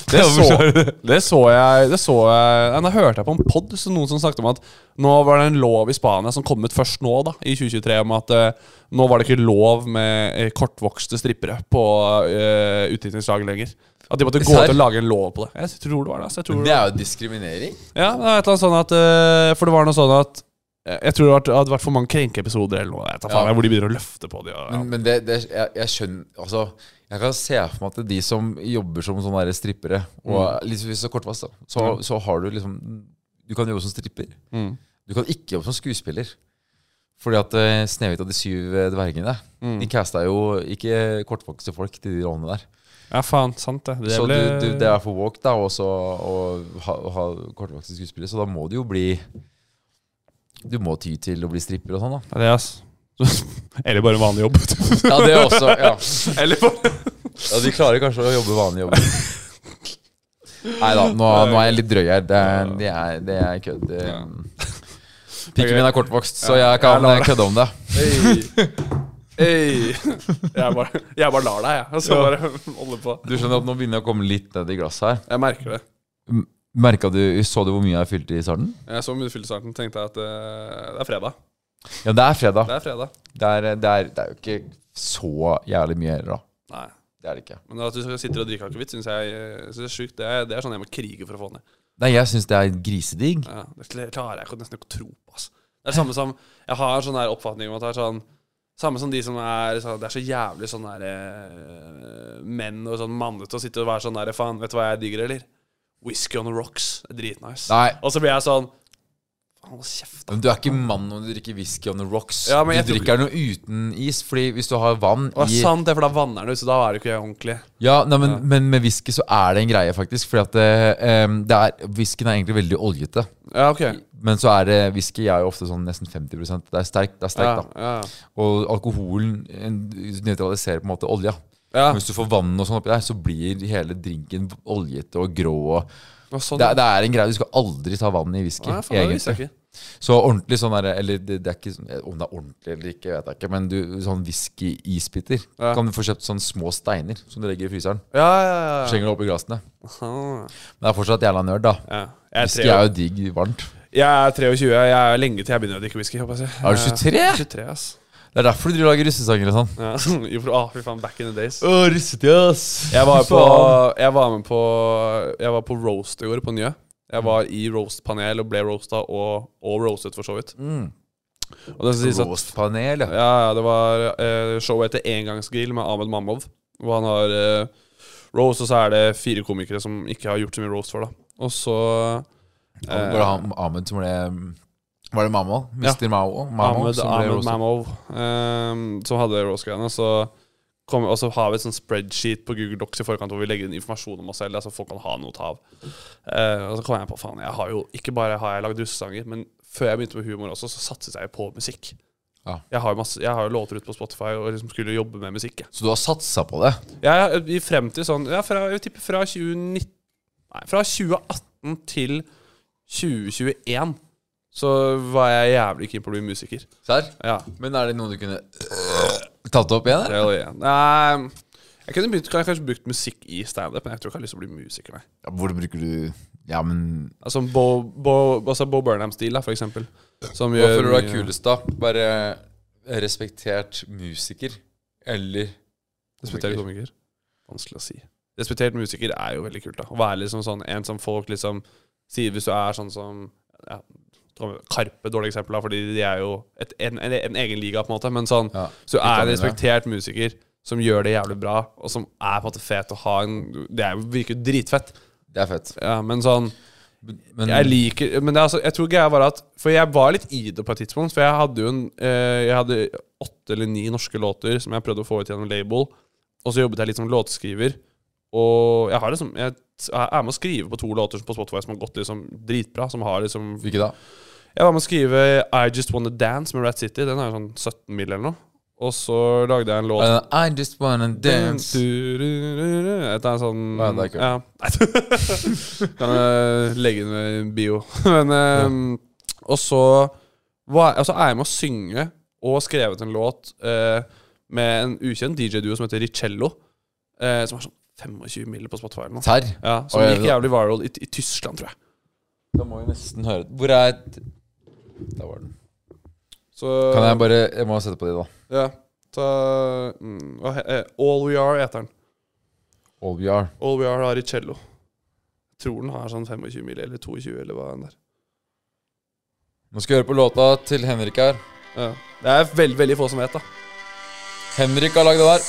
S3: Det så, det så jeg Det så jeg nei, Da hørte jeg på en pod noen som snakket om at nå var det en lov i Spania som kom ut først nå, da i 2023, om at eh, nå var det ikke lov med eh, kortvokste strippere på eh, utdrikningslaget lenger. At de måtte gå
S4: Serr?
S3: ut og lage en lov på det. Jeg tror det var det. Altså, jeg tror
S4: Det er jo diskriminering.
S3: ja, det var et eller annet sånn at eh, For det var noe sånn at Jeg jeg tror det hadde vært- hadde vært for mange krenkeepisoder eller noe. Jeg tar faen,
S4: Ja. Mm.
S3: jeg, hvor de begynner å løfte på de. Og, ja.
S4: Men, men det, det, jeg, jeg skjønner Altså, jeg kan se for meg at de som jobber som sånne der strippere, og litt hvis det er kortvass, da, så, så har du liksom Du kan jobbe som stripper. Du kan ikke jobbe som skuespiller. Fordi at eh, Snehvit og de syv eh, dvergene De casta jo ikke kortvokste folk til de rollene der.
S3: ja, faen. Sant det. Det
S4: så
S3: ble...
S4: du, du, det er for walk da også, å ha, å ha kortvokste skuespillere, så da må du jo bli Du må ty til å bli stripper og sånn,
S3: Ja,
S4: da.
S3: eh, det, er ass. Eller bare en vanlig jobb.
S4: Ja, det er også, ja
S3: Eller bare
S4: Ja, de klarer kanskje å jobbe vanlig jobb. Nei da, nå, nå er jeg litt drøy her. Det er, det er, det er kødd. Det- Pikken min er kortvokst, så jeg kan
S3: lar
S4: kødde om det.
S3: Hey. Jeg, bare, jeg bare lar deg, jeg. Og så bare holde på.
S4: Du skjønner at Nå begynner jeg å komme litt ned i glasset her.
S3: Jeg merker det.
S4: Merket du, Så du hvor mye jeg fylte i starten?
S3: Jeg så midtfyllestarten, tenkte jeg at eh, det er fredag.
S4: Ja, det er fredag.
S3: Det er fredag.
S4: Det er, det er, det er jo ikke så jævlig mye heller, da.
S3: Nei.
S4: Det er det ikke.
S3: Men at du sitter og drikker akevitt, syns jeg eh, synes det er sjukt. Det, er- det er sånn jeg må krige for å få ned.
S4: Nei, jeg syns det er grisedigg.
S3: Ja, det kl- klarer jeg ikke, nesten ikke å tro på. ass. Det er det samme som Jeg har en sånn her oppfatning om at det er sånn Samme som de som er sånn, Det er så jævlig sånn der eh, menn og sånn mannete å sitte og være sånn der Faen, vet du hva jeg digger, eller? Whisky on the rocks. Det er Dritnice.
S4: Nei.
S3: Og så blir jeg sånn Faen, hold kjeft, da.
S4: Men du er ikke mann når du drikker whisky on the rocks.
S3: Ja,
S4: du
S3: men jeg tror
S4: drikker noe uten is, fordi hvis du har vann
S3: Det var
S4: i
S3: sant, det, for da vanner den ut, så da er det ikke ordentlig.
S4: Ja, nei, men, men med whisky så er det en greie, faktisk. Fordi at eh, em, det er, whiskyen er egentlig veldig oljete.
S3: Ja, ok.
S4: Men så er det whisky er jo ofte sånn nesten 50 Det er sterkt, det er
S3: Ja,
S4: sterkt da.
S3: ja.
S4: Og alkoholen en- nøytraliserer på en måte olja.
S3: ja.
S4: Men Hvis du får vann og sånn oppi der, så blir hele drinken oljete og grå. Og
S3: Og sånn,
S4: det, er- det er en greie. Du skal aldri ta vann i whisky.
S3: Nei, faen, det visste
S4: egentlig.
S3: jeg ikke.
S4: Så ordentlig sånn der, eller det, det er ikke sånn- Om det er ordentlig eller ikke, vet jeg ikke, men du, sånn whisky-isbiter
S3: Ja.
S4: kan du få kjøpt sånne små steiner som du legger i fryseren.
S3: Ja, ja, ja.
S4: Slenger det oppi glassene.
S3: Ah.
S4: Men det er fortsatt jævla nerd, da.
S3: ja. Jeg, er
S4: Whisky
S3: tre,
S4: er jo digg varmt.
S3: jeg er 23. Jeg er lenge til jeg begynner å drikke whisky. håper jeg å si.
S4: Er du 23?
S3: Jeg er 23, ass.
S4: Det er derfor du lager russesanger og sånn.
S3: Ja, jo, for, ah, fy faen, back in the days.
S4: Å, russetid, ass.
S3: Jeg var, på, jeg var med på Jeg var på roast i går, på Njø.
S4: Mm.
S3: Jeg var i roast-panel og ble roasta og, og roastet, for så vidt. Og det skal sies
S4: Mm.
S3: at
S4: Roastpanel, Mm. sånn. ja.
S3: Ja, ja, det var eh, showet etter Engangsgrill med Ahmed Mamov. Hvor han har eh, roast, og så er det fire komikere som ikke har gjort så mye roast før, da. Og så eh,
S4: Var det Ham- Ahmed som ble Var det Mammo? Mr. Mao? Mamo,
S3: Ahmed,
S4: som ble
S3: Ahmed
S4: roastet?
S3: Mamov, ehm, som hadde roast-greiene. Så kom, og så har vi et sånn spreadsheet på Google Docs i forkant hvor vi legger inn informasjon om oss selv. Altså folk kan ha noe å ta av. Eh, og så kom jeg på faen, jeg har jo ikke bare har jeg lagd russesanger, men før jeg begynte med humor også, så satset jeg jo på musikk.
S4: Ja.
S3: Jeg har jo masse- jeg har jo låter ute på Spotify og liksom skulle jobbe med musikk. Jeg.
S4: Så du har satsa på det?
S3: Jeg, er i frem til sånn ja, fra, Jeg tipper fra 2019 Nei, fra 2018 til 2021 så var jeg jævlig keen på å bli musiker.
S4: Serr?
S3: Ja.
S4: Men er det noe du kunne øh, tatt opp igjen? eller?
S3: Hell yeah. Nei, jeg kunne begynt, kan jeg kanskje brukt musikk i standup, men jeg tror ikke jeg har lyst til å bli musiker. Nei.
S4: Ja, hvor bruker du Ja, men
S3: Altså Bo, Bo, altså Bo Burnham-stil, da, for eksempel. Som
S4: Hva
S3: gjør
S4: føler du er
S3: mye-
S4: kulest, da? Være respektert musiker eller
S3: Respektert komiker. Vanskelig å si. Respektert musiker er jo veldig kult, da. Å være liksom sånn en som folk liksom sier hvis du er sånn som ja, Karpe, dårlig eksempel, da, fordi de er jo et, en, en, en egen liga, på en måte. Men sånn,
S4: Ja,
S3: så du er en
S4: litt annerledes.
S3: respektert musiker som gjør det jævlig bra, og som er på en måte fet å ha en Det er jo- virker jo dritfett,
S4: Det er fett.
S3: ja, men sånn
S4: Men
S3: Jeg liker Men det er altså, jeg tror greia var at For jeg var litt i det på et tidspunkt. For jeg hadde jo en eh, Jeg hadde åtte eller ni norske låter som jeg prøvde å få ut gjennom label. Og så jobbet jeg litt som låtskriver. Og jeg har liksom Jeg er med å skrive på to låter på Spotify som har gått liksom dritbra. Som har liksom
S4: Hvilke da?
S3: Jeg var med å skrive I Just Wanna Dance med Rat City. Den er jo sånn 17 mil eller noe. Og så lagde jeg en låt
S4: Uh, I just wanna dance.
S3: et er sånn
S4: Ja, det er kult.
S3: Ja. kan jeg legge inn en bio. Men ehm, Og så var, altså er jeg med å synge og har skrevet en låt eh, med en ukjent DJ-duo som heter Ricello. eh, som har sånn 25 mil på Spotify eller noe.
S4: Serr?
S3: Ja, som
S4: Oi,
S3: gikk
S4: da-
S3: jævlig viral i, i Tyskland, tror jeg.
S4: Da må vi nesten høre Hvor er Der var den.
S3: Så,
S4: Kan jeg bare Jeg må sette på de, da.
S3: ja, ta, mm, hva he- eh, All We Are heter den.
S4: All we are.
S3: All We Are har Ricello. Tror den har sånn 25 mil eller 22 eller hva enn det er.
S4: Nå skal vi høre på låta til Henrik her.
S3: Ja. Det er veldig, veldig få som vet, da.
S4: Henrik har lagd det der.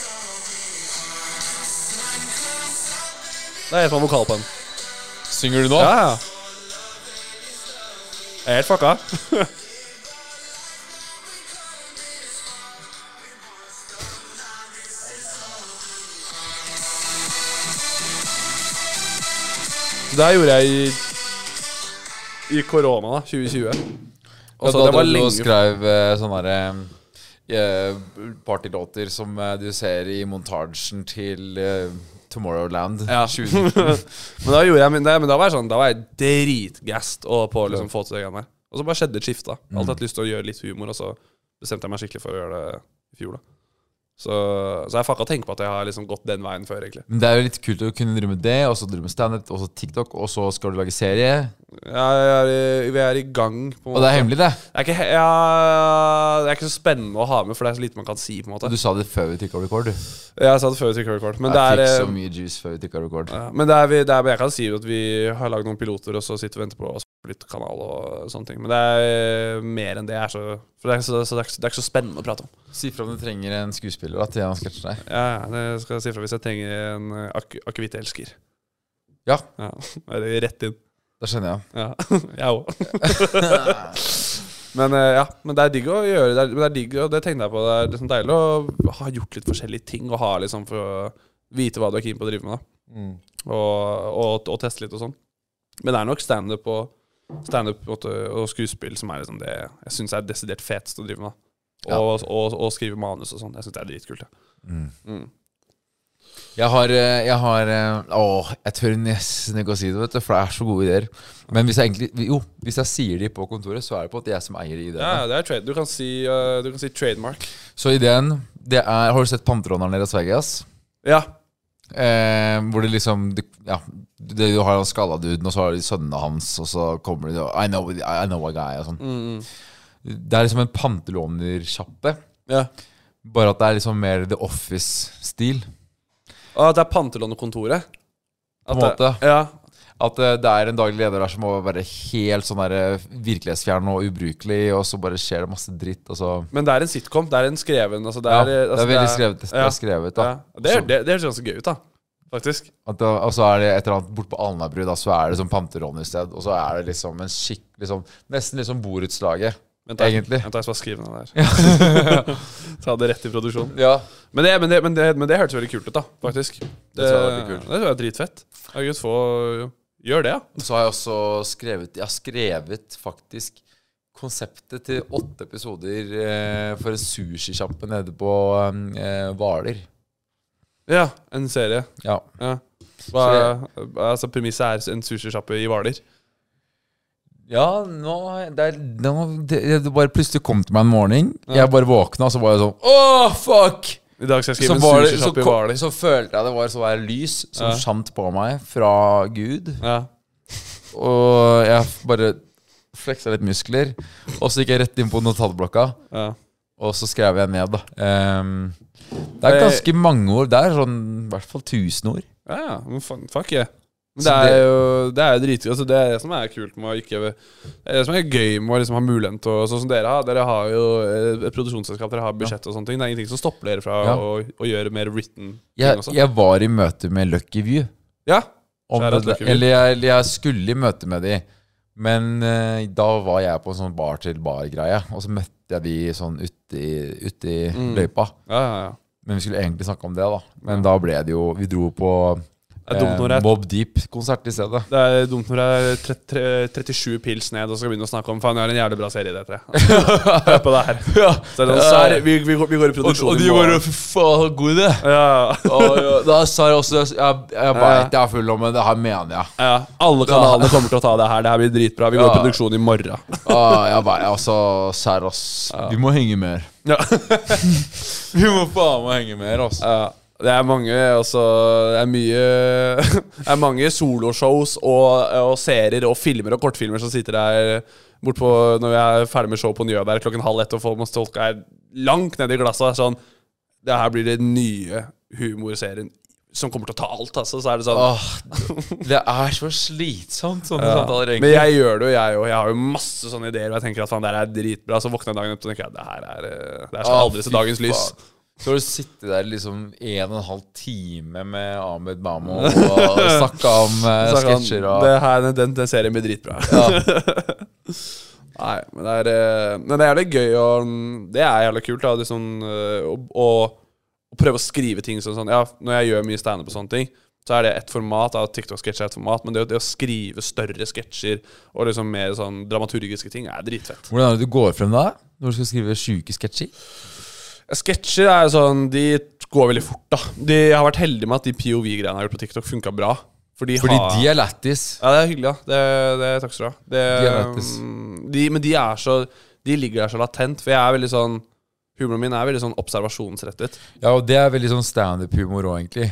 S3: Det er helt sånn vokal på den.
S4: Synger du nå?
S3: Ja, ja. Jeg er helt fucka. Det her gjorde jeg i, i korona, da. 2020.
S4: Og
S3: Og så
S4: da
S3: det var
S4: drev du og
S3: lenge
S4: skrev eh, sånne der, eh, partylåter som eh, du ser i montasjen til eh, Tomorrowland.
S3: Ja.
S4: 2019.
S3: Men da gjorde jeg min- nei, men da var jeg sånn Da var jeg dritgassed og på å liksom få til det greiene der. Og så bare skjedde et skifte. da.
S4: Mm.
S3: Jeg har Alltid hatt lyst til å gjøre litt humor, og så bestemte jeg meg skikkelig for å gjøre det i fjor. da Så, så jeg fucka tenke på at jeg har liksom gått den veien før, egentlig.
S4: Men det er jo litt kult å kunne drive med det, og så drive med standup, og så TikTok, og så skal du lage serie.
S3: Jeg er, i- vi er i gang, på en
S4: Og det
S3: måte.
S4: er hemmelig, det.
S3: Det er, ikke, he- ja, det er ikke så spennende å ha med, for det er så lite man kan si. på en måte
S4: Du sa det før vi trykka record. du.
S3: Jeg sa det før vi trykka record, men det
S4: Jeg
S3: er
S4: fikk så
S3: eh,
S4: mye juice før vi trykka record.
S3: ja, Men det er, vi, det er, jeg kan si at vi har lagd noen piloter, og så sitter vi og venter på å splitte kanal og sånne ting. Men det er eh, mer enn det. Er så, for det er, ikke så, så det, er, ikke så- det er ikke så spennende å prate om.
S4: Si fra om du trenger en skuespiller da, til han sketsjer deg.
S3: Ja, ja, det skal jeg si fra hvis jeg trenger en eh, ak akevittelsker.
S4: Ja.
S3: ja. Er det rett inn.
S4: Da skjønner jeg.
S3: Ja, jeg òg. men eh, ja, men det er digg å gjøre det. Er, men det er digg, og det tenkte jeg på. Det er liksom deilig å ha gjort litt forskjellige ting og ha liksom for å vite hva du er keen på å drive med. da Og, og, og teste litt og sånn. Men det er nok standup og, stand og skuespill som er liksom det jeg syns er desidert fetest å drive med. da Og, og, og, skrive manus og sånn. Jeg syns det er dritkult. Ja.
S4: Mm. Jeg har, eh, jeg har eh, Åh, jeg tør nesten ikke å si det, vet du, for det er så gode ideer. Men hvis jeg egentlig Jo, hvis jeg sier de på kontoret, så er det på at jeg som eier de
S3: Ja,
S4: ideene.
S3: det er trade. Du kan si, eh, du kan si trademark.
S4: Så ideen det er Har du sett Panteråneren i Las Vegas?
S3: Ja.
S4: Eh, hvor det liksom det, Ja, det, du har han skalla duden, og så har de sønnene hans, og så kommer de og I know, I know a guy, og sånn.
S3: Mm,
S4: Det er liksom en pantelånersjappe,
S3: ja.
S4: bare at det er liksom mer The Office-stil.
S3: Og at det er Pantelånekontoret.
S4: På en
S3: At det-
S4: måte.
S3: Ja,
S4: At eh, det er en daglig leder der som må være helt sånn der eh, virkelighetsfjern og ubrukelig, og så bare skjer det masse dritt, og så
S3: Men det er en sitcom. Det er en skreven altså det,
S4: Ja,
S3: er,
S4: det er
S3: altså,
S4: veldig skrevet. Det
S3: ja,
S4: er skrevet, da.
S3: ja. Det, er, det, det høres ganske gøy ut, da. Faktisk.
S4: At det, og så er det et eller annet borte på Alnabru, da, så er det som panterånersted, og så er det liksom en skikkelig sånn Nesten liksom borettslaget.
S3: Vent, jeg-
S4: Egentlig.
S3: Vent, jeg skal bare skrive ned det her. Ta det rett i produksjon.
S4: Ja.
S3: Men det, men det, men det, men det hørtes veldig kult ut, da. Faktisk. Det,
S4: tror jeg var veldig kult.
S3: det tror jeg er dritfett. Herregud, få Gjør det, ja.
S4: Så har jeg også skrevet Jeg har skrevet faktisk konseptet til åtte episoder eh, for en sushisjappe nede på eh, Hvaler.
S3: Ja, en serie.
S4: Ja.
S3: Ja. Hva, altså Premisset er en sushisjappe i Hvaler.
S4: ja, nå det er, nå, det, det bare plutselig kom til meg en morgen. Jeg bare våkna, og så var jeg sånn Åh, fuck!
S3: I dag skal jeg
S4: Så,
S3: skrive
S4: var
S3: en
S4: det, så,
S3: sushisjappe i
S4: kom-
S3: Hvaler.
S4: så følte jeg det var sånn der lys som
S3: Ja.
S4: skjant på meg fra Gud.
S3: Ja.
S4: Og jeg bare fleksa litt muskler. Og så gikk jeg rett inn på notatblokka.
S3: Ja.
S4: Og så skrev jeg ned, da. Ehm, det
S3: Eh,
S4: er ganske mange ord. Det er sånn i hvert fall 1000 ord.
S3: Ja, ja, men faen, fuck yeah. Men
S4: Så
S3: det
S4: det-
S3: er jo Det er jo dritgøy. Altså, det er det som er kult med å ikke Det er det som er gøy med å liksom ha muligheten til å Sånn som dere har. Dere har jo eh, et produksjonsselskap, dere har budsjett og sånne ting. Det er ingenting som stopper dere fra
S4: Ja.
S3: å, å gjøre mer written ting
S4: Jeg,
S3: også.
S4: jeg var i møte med Lucky View.
S3: Ja.
S4: Om
S3: Shout out
S4: det,
S3: Lucky View.
S4: eller jeg, jeg skulle i møte med de. Men eh, da var jeg på en sånn bar-til-bar-greie. Og så møtte jeg de sånn ute i, ute i
S3: Mm.
S4: løypa.
S3: Ja, ja, ja.
S4: Men vi skulle egentlig snakke om det, da. Men da ble det jo Vi dro på
S3: Det er dumt når
S4: eh,
S3: det er
S4: Mob Deep-konsert i stedet.
S3: det er dumt når det er tre, tre, 37 pils ned og så skal begynne å snakke om Faen, jeg har en jævlig bra serie i det tre. Hør på det her. Så er det sånn,
S4: Eh,
S3: «Sær, vi, vi, går- vi går i produksjon i morgen.
S4: Fy faen, så god idé!
S3: Ja,
S4: Og, ja, da sa jeg også Jeg, jeg
S3: Ja.
S4: veit jeg er full om men det her mener jeg.
S3: ja. Alle kanalene kommer til å ta det her. Det her blir dritbra. Vi går i
S4: Ja.
S3: produksjon i morgen.
S4: Ah, jeg bare, altså, serr, ass. Vi må henge mer.
S3: Ja.
S4: Vi må faen meg henge mer, ass.
S3: Ja, det er mange altså, Det er mye Det er mange soloshows og, og serier og filmer og kortfilmer som sitter der bortpå når jeg er ferdig med show på Njø der klokken halv ett, og folk tolka er langt nedi glasset. Sånn Det her blir det nye humorserien som kommer til å ta alt, altså. Så er det sånn
S4: Åh, det er så slitsomt, sånne
S3: ja.
S4: samtaler,
S3: Men
S4: egentlig.
S3: jeg gjør det jo, jeg òg. Jeg har jo masse sånne ideer. Og jeg tenker at faen, det her er dritbra. Så våkner jeg dagen etter og tenker jeg, det her er, eh, det her skal
S4: Å,
S3: aldri
S4: fy
S3: se dagens lys.
S4: faen. Så har du sittet der liksom en og en halv time med Ahmed Mamo og snakka om eh,
S3: Så er han,
S4: sketsjer og
S3: det her, den, den serien blir dritbra. Nei, men det er eh, Men det er jævlig gøy, og mm, det er jævlig kult. Da, det er sånn, eh, å, å, å prøve å skrive ting sånn, sånn Ja, når jeg gjør mye standup og sånne ting, så er det ett format. Da, TikTok-sketsj er ett format, men det, å- det å skrive større sketsjer og liksom mer sånn dramaturgiske ting er dritfett.
S4: Hvordan er det du går frem da? Når du skal skrive sjuke sketsjer?
S3: Sketsjer er jo sånn De går veldig fort, da. De jeg har vært heldige med at de POV-greiene jeg har gjort på TikTok, funka bra. For de
S4: Fordi
S3: har,
S4: de er lættis.
S3: Ja, det er hyggelig, da. Det, det, takk skal du ha. Det,
S4: De er lættis.
S3: mm, de, men de er så De ligger der så latent, for jeg er veldig sånn Humoren min er veldig sånn observasjonsrettet.
S4: Ja, og det er veldig sånn standup-humor òg, egentlig.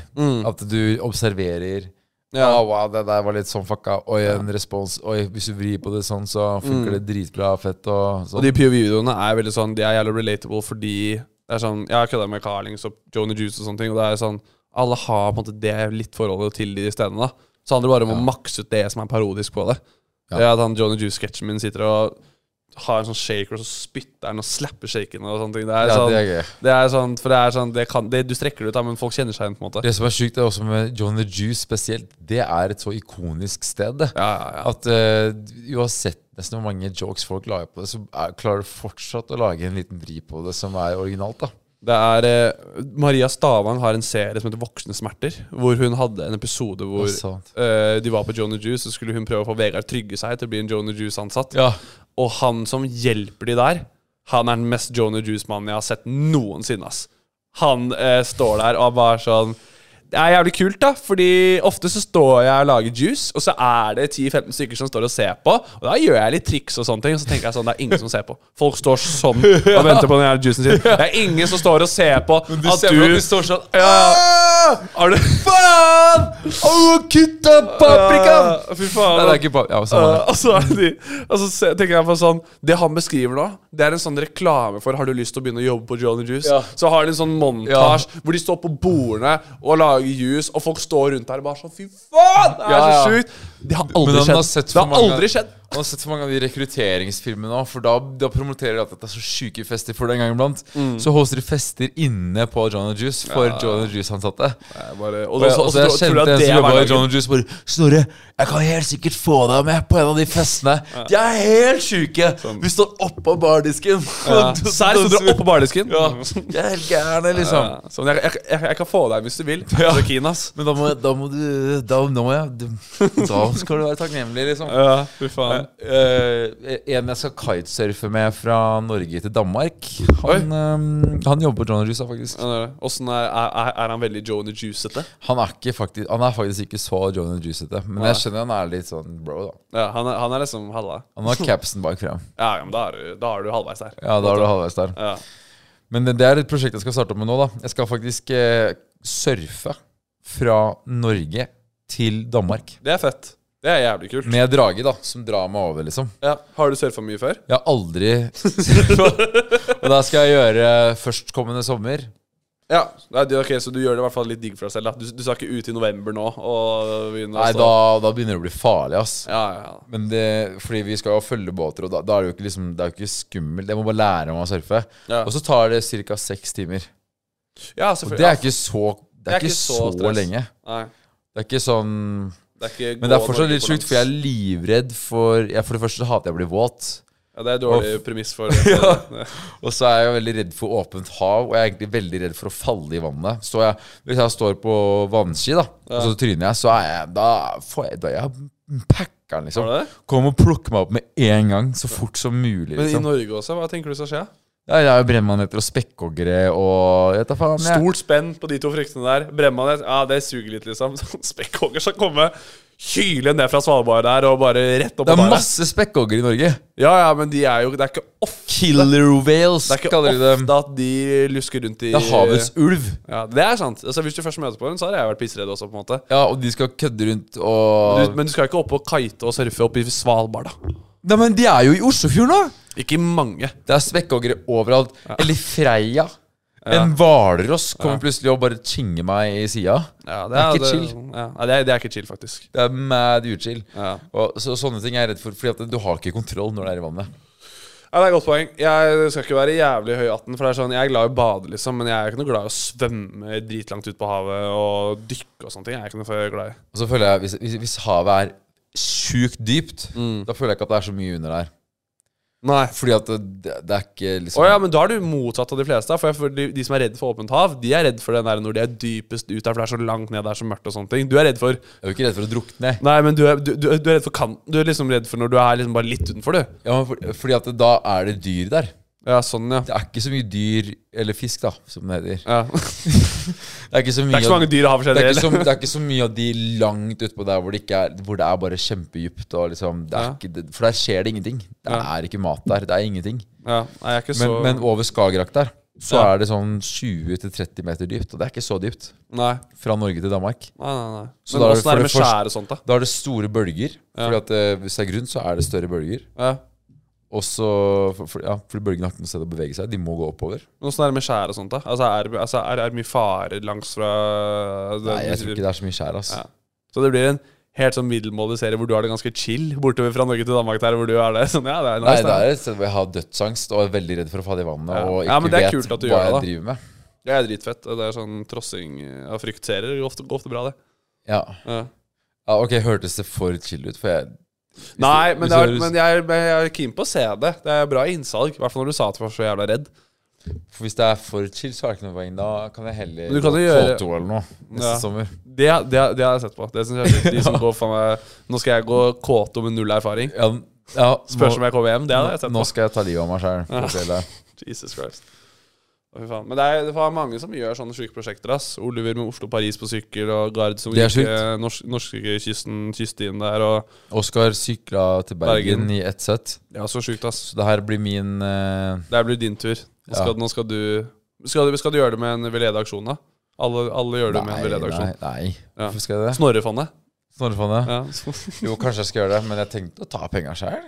S4: At du observerer
S3: Mm. Ja.
S4: «Ah, wow, det der var litt sånn fucka. Oi, en respons. Oi, hvis du vrir på det sånn, så funker
S3: Mm.
S4: det dritbra fett og
S3: Og
S4: sånn.
S3: de POV-videoene er veldig sånn De er jævlig relatable fordi det er sånn, Jeg har kødda med Carlings og Joni Juice og sånne ting, og det er sånn Alle har på en måte det litt forholdet til de stedene. da. Så handler det bare om å makse ut det som er parodisk på det.
S4: Ja.
S3: Det er at han Joni Juice-sketsjen min sitter og har en sånn shaker, og så spytter han og slapper shaken og sånne ting. Det er
S4: Ja,
S3: sånn,
S4: det er gøy.
S3: det er sånn For det er sånn det kan, det, Du strekker det ut, da, men folk kjenner seg igjen, på en måte.
S4: Det som er sjukt, det er også med John the Juice spesielt. Det er et så ikonisk sted. det.
S3: Ja, ja, ja.
S4: At eh, uansett nesten hvor mange jokes folk lager på det, så er, klarer du fortsatt å lage en liten vri på det som er originalt. da.
S3: Det er eh, Maria Stavang har en serie som heter Voksne smerter, hvor hun hadde en episode hvor
S4: Det er sant.
S3: eh, de var på Joan Juice, så skulle hun prøve å få Vegard Trygge seg til å bli en Joan Juice-ansatt. Og han som hjelper de der, han er den mest Joan Juice-mannen jeg har sett noensinne. ass Han eh, står der og bare sånn det er jævlig kult, da, fordi ofte så står jeg og lager juice, og så er det 10-15 stykker som står og ser på, og da gjør jeg litt triks og sånne ting, og så tenker jeg sånn, det er ingen som ser på. Folk står sånn og venter på den jævla juicen sin. Det er ingen som står og ser på
S4: du
S3: at
S4: ser
S3: du
S4: hvordan de
S3: står sånn
S4: Ah!
S3: ja, Har du
S4: Faen! Å, kutt av paprikaen!
S3: Ja, Fy faen.
S4: Ah! Nei, det er ikke paprika. Ja, samme det.
S3: Eh, og, så er de, og så se- tenker jeg på sånn Det han beskriver nå, det er en sånn reklame for Har du lyst til å begynne å jobbe på Johnny Juice? Så har de en sånn montasje hvor de står på bordene og lager juice, og folk står rundt der og bare sånn Fy faen, det er
S4: Ja, ja.
S3: så sjukt! Det har
S4: Men
S3: aldri
S4: han har
S3: skjedd.
S4: sett for
S3: det har
S4: mange-
S3: aldri skjedd.
S4: Man har sett så mange av de rekrutteringsfilmene òg, for da, da promoterer de at det er så sjuke fester for det en gang iblant. Så hoster de fester inne på John Juice for John Juice-ansatte.
S3: og
S4: Og
S3: det-
S4: jeg,
S3: så-
S4: også,
S3: så
S4: jeg
S3: tror- tror
S4: kjente
S3: jeg
S4: en
S3: det er
S4: som jobba i
S3: hverdagen.
S4: John Juice bare 'Snorre, jeg kan helt sikkert få deg med på en av de festene.' De er helt sjuke! Vi står oppå bardisken.
S3: Sånn. Ja. Serr sitter sånn, du oppå bardisken.
S4: Ja, De er helt gærne, liksom.
S3: Ja. Sånn, jeg, jeg, jeg, jeg kan få deg hvis du vil. Altså, Ja. Så keen, ass.
S4: Men da må, da må du Da, nå må jeg, da skal du være takknemlig, liksom.
S3: Ja, fy faen.
S4: Eh, en jeg skal kitesurfe med fra Norge til Danmark. Han, eh, han jobber på John Rusa, faktisk.
S3: Ja, det er det. Åssen er, er, er han veldig Joan Juice-ete?
S4: Han er, ikke faktisk, han er faktisk ikke så John Rusa-ete, men jeg skjønner han er litt sånn bro, da.
S3: Ja, han, er- han er liksom halva.
S4: Han har capsen bak frem.
S3: Ja, ja, men da er du, da er du halvveis der.
S4: Ja, da er du halvveis der.
S3: Ja.
S4: Men det, det er et prosjekt jeg skal starte opp med nå, da. Jeg skal faktisk eh, surfe fra Norge til Danmark.
S3: Det er fett. Det er jævlig kult.
S4: Med drage, da, som drar meg over, liksom.
S3: Ja. Har du surfa mye før?
S4: Jeg har aldri Og da skal jeg gjøre førstkommende sommer.
S3: Ja. Nei, du, ok, Så du gjør det i hvert fall litt digg for deg selv? Da. Du, du skal ikke ut i november nå og begynne
S4: Nei,
S3: å
S4: da,
S3: stå-
S4: da begynner det å bli farlig, ass.
S3: Ja, ja, ja.
S4: Men det, fordi vi skal jo følge båter, og da, da er det jo ikke, liksom, det er jo ikke skummelt. Jeg må bare lære meg å surfe.
S3: Ja.
S4: Og så tar det ca. seks timer.
S3: ja
S4: Og
S3: selvfølgelig.
S4: det er ikke så, det er ikke så,
S3: stress.
S4: lenge.
S3: Nei,
S4: Det er ikke sånn
S3: det er ikke
S4: Men det er
S3: gå
S4: fortsatt
S3: Norge
S4: litt sjukt,
S3: langs.
S4: for jeg er livredd for jeg, For det første så hater jeg å bli våt.
S3: Ja, Det er dårlig premiss for ja.
S4: Og så er jeg veldig redd for åpent hav, og jeg er egentlig veldig redd for å falle i vannet. Så jeg, hvis jeg står på vannski, da, og så tryner jeg, så er jeg Da får jeg, da er jeg packeren,
S3: Har
S4: liksom.
S3: du det?
S4: Kom og plukk meg opp med en gang, så fort som mulig.
S3: Men i
S4: Liksom.
S3: Norge også, hva tenker du skal skje?
S4: Ja, det er jo brennmaneter og spekkhoggere og jeg vet da faen. Jeg.
S3: Stort spenn på de to fryktene der. Bremmanet, ja, det suger litt, liksom. Sånn Spekkhogger skal komme hyle ned fra Svalbard der og bare rett opp på
S4: Det er
S3: der.
S4: masse spekkhoggere i Norge.
S3: Ja, ja, men de er jo Det er ikke ofte
S4: Killer whales,
S3: Det er ikke
S4: kaller de dem.
S3: ofte at de lusker rundt i
S4: Det er havets ulv.
S3: Ja, det er sant. Altså, hvis du først møter på den, så har jeg vært pissredd også. på en måte
S4: Ja, og de skal kødde rundt og
S3: du, Men du skal ikke opp og kite og surfe opp i Svalbard, da.
S4: Nei, men de er jo i Oslofjorden, da!
S3: Ikke mange.
S4: Det er spekkhoggere overalt. Eller Freia. En hvalross kommer plutselig og bare tjinger meg i sida.
S3: Ja, det,
S4: er ikke
S3: det-
S4: chill.
S3: Ja, Nei, det, er, det er ikke chill, faktisk.
S4: Det er mad uchill.
S3: Ja.
S4: Og så, sånne ting er jeg redd for, Fordi at du har ikke kontroll når det er i vannet.
S3: Ja, det er et godt poeng. Jeg skal ikke være jævlig høy i hatten, for det er sånn, jeg er glad i å bade, liksom, men jeg er ikke noe glad i å svømme dritlangt ut på havet og dykke og sånne ting. Jeg er ikke noe glad i.
S4: Og så føler jeg Hvis, hvis, hvis havet er sjukt dypt, da føler jeg ikke at det er så mye under der.
S3: Mm. Nei.
S4: Fordi at det, det er ikke liksom
S3: Å ja, men da er du motsatt av de fleste. For, jeg, for de, de som er redd for åpent hav, de er redd for den der når de er dypest ut der, for det er så langt ned, det er så mørkt og sånne ting. Du er redd for
S4: Jeg er jo ikke redd for å drukne.
S3: Nei, men du er, du, du, du er redd for kanten. Du er liksom redd for når du er liksom bare litt utenfor, du.
S4: Ja, men for, fordi at da er det dyr der.
S3: Ja, sånn, ja.
S4: Det er ikke så mye dyr Eller fisk, da, som det heter.
S3: ja. Det
S4: Det er ikke så mye,
S3: er ikke så mange dyr i havet
S4: det er ikke,
S3: generelt.
S4: så, det er ikke så mye av de langt utpå der hvor det, ikke er, hvor det er bare kjempedypt. Og liksom, det er
S3: Ja.
S4: ikke, det- for der skjer det ingenting. Det
S3: Ja.
S4: er ikke mat der. Det er ingenting.
S3: Ja, nei, jeg er ikke så
S4: Men, men over Skagerrak der, så
S3: Ja.
S4: er det sånn 20-30 meter dypt. Og det er ikke så dypt.
S3: Nei,
S4: Fra Norge til Danmark.
S3: nei, nei. nei.
S4: Så
S3: Men
S4: da er det
S3: åssen
S4: for
S3: er det
S4: det
S3: med
S4: første-
S3: skjær og sånt, da?
S4: Da er det store bølger.
S3: Ja.
S4: Fordi at eh, Hvis det er grunn, så er det større bølger.
S3: Ja.
S4: Og så, for, for, ja, fordi bølgene har ikke noe sted å bevege seg. De må gå oppover.
S3: Men åssen er det med skjær og sånt, da? Altså, er, det- altså, er, er det mye fare langs fra
S4: Nei, jeg tror ikke det er så mye skjær. ass
S3: Ja. Så det blir en helt sånn middelmådig serie hvor du har det ganske chill bortover fra Norge til Danmark der, hvor du er det. Sånn, ja, det er
S4: Nei,
S3: nice,
S4: det
S3: da.
S4: er et sted hvor jeg har dødsangst og er veldig redd for å falle i vannet
S3: Ja.
S4: og ikke
S3: Ja, men det er
S4: vet
S3: kult at du
S4: hva
S3: gjør det,
S4: jeg
S3: da.
S4: driver med.
S3: Det er dritfett. Det er sånn trossing av fryktserier. Det Går ofte, går ofte bra, det.
S4: Ja.
S3: Ja.
S4: ja, ok, hørtes det for chill ut, for jeg
S3: Nei, men,
S4: hvis
S3: det er,
S4: det høres-
S3: men jeg, er- jeg er keen på å se det. Det er bra innsalg. I hvert fall når du sa at du var så jævla redd.
S4: for Hvis det er for chill, så er det ikke noe poeng. Da kan jeg heller
S3: Men du kan jo
S4: dra
S3: gjøre-
S4: Tolto eller noe neste
S3: Ja.
S4: sommer.
S3: Det, det, det har jeg sett på. Det synes jeg er fint. De som går faen meg Nå skal jeg gå kåto med null erfaring.
S4: Ja, n- ja,
S3: Spørs om
S4: nå,
S3: jeg kommer hjem. Det har jeg sett
S4: nå
S3: på.
S4: skal jeg ta livet av meg sjøl.
S3: Jesus Christ. Å, fy faen. Men det er, det er mange som gjør sånne sjuke prosjekter. ass Oliver med Oslo-Paris på sykkel, og Gard som
S4: Det er
S3: gikk eh, norsk, norskekysten kyststien der. Og
S4: Oskar sykla til Bergen,
S3: Bergen.
S4: i ett sett.
S3: det er så sjukt, ass.
S4: Så det her blir min eh,
S3: Det blir din tur. Nå skal,
S4: Ja.
S3: nå skal, du, skal du Skal du gjøre det med en veledig-aksjon, da? Alle, alle gjør det med en
S4: Nei, nei,
S3: veledig-aksjon.
S4: nei.
S3: Ja.
S4: Hvorfor skal jeg det?
S3: Snorrefondet.
S4: Snorrefondet?
S3: Ja.
S4: Jo, kanskje jeg skal gjøre det, men jeg tenkte å ta penga sjøl.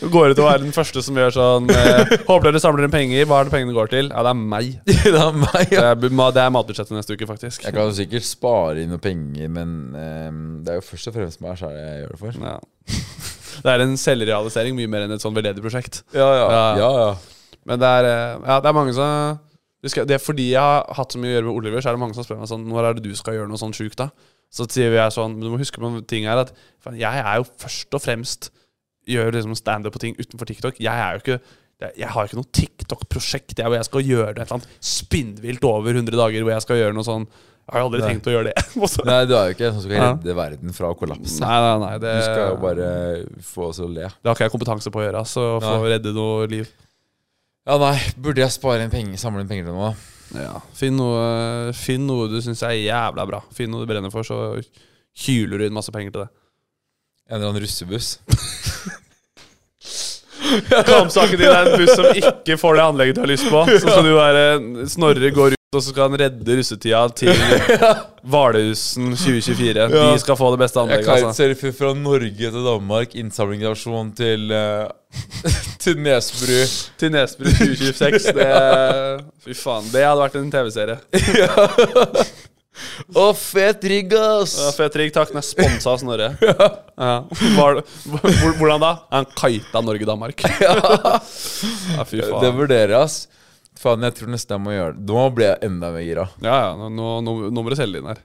S3: Du går ut og er den første som gjør sånn eh, 'Håper dere samler inn penger. Hva er det pengene går til?' Ja, det er meg.
S4: det er meg,
S3: Det er, bu- ma- det er matbudsjettet neste uke, faktisk.
S4: Jeg kan jo sikkert spare inn noe penger, men ehm, det er jo først og fremst meg sjæl jeg gjør det for.
S3: Ja. Det er en selvrealisering mye mer enn et sånn veldedig prosjekt.
S4: Ja, ja.
S3: Men det er, eh, ja, det er mange som husker, jeg- Det er fordi jeg har hatt så mye å gjøre med Oliver, så er det mange som spør meg sånn Når er det du skal gjøre noe sånn sjukt, da? Så sier jeg sånn Men du må huske på en ting her at faen, jeg er jo først og fremst Gjør liksom standup på ting utenfor TikTok. Jeg er jo ikke jeg, jeg har ikke noe TikTok-prosjekt jeg, hvor jeg skal gjøre noe et eller annet spinnvilt over 100 dager. Hvor jeg skal gjøre noe sånn Jeg har jo aldri
S4: Nei.
S3: tenkt å gjøre det. Og så-
S4: Nei, du er jo ikke en som skal
S3: Ja.
S4: redde verden fra å kollapse.
S3: nei, nei, nei det,
S4: Du skal jo bare få oss til å le.
S3: Det har ikke jeg kompetanse på å gjøre. ass, å få redde noe liv.
S4: Ja, nei, burde jeg spare inn penger, samle inn penger til noe? da?
S3: Ja, finn noe, finn noe du syns er jævla bra. Finn noe du brenner for, så hyler du inn masse penger til det.
S4: En eller annen russebuss?
S3: Kampsaken din er en buss som ikke får det anlegget du har lyst på. Så skal du være Snorre går ut, og så skal han redde russetida til Hvalhusen 2024.
S4: Ja.
S3: De skal få det beste
S4: Jeg
S3: anlegget. Altså.
S4: kitesurfer fra Norge til Danmark, innsamlingsaksjon til eh, Til Nesbru.
S3: Til Nesbru 2026. Det, fy faen, det hadde vært en TV-serie.
S4: Å, fet rigg, ass!
S3: Ja, Fett rigg, takk. Den er sponsa av Snorre. Ja. Var, hvor- hvordan da? Han kita Norge-Danmark. Ja, fy faen.
S4: Det vurderer jeg, ass. Faen, jeg tror nesten jeg må gjøre det. Nå ble jeg enda mer gira.
S3: Ja, ja, nå, nå, nå, nå må du selge inn her.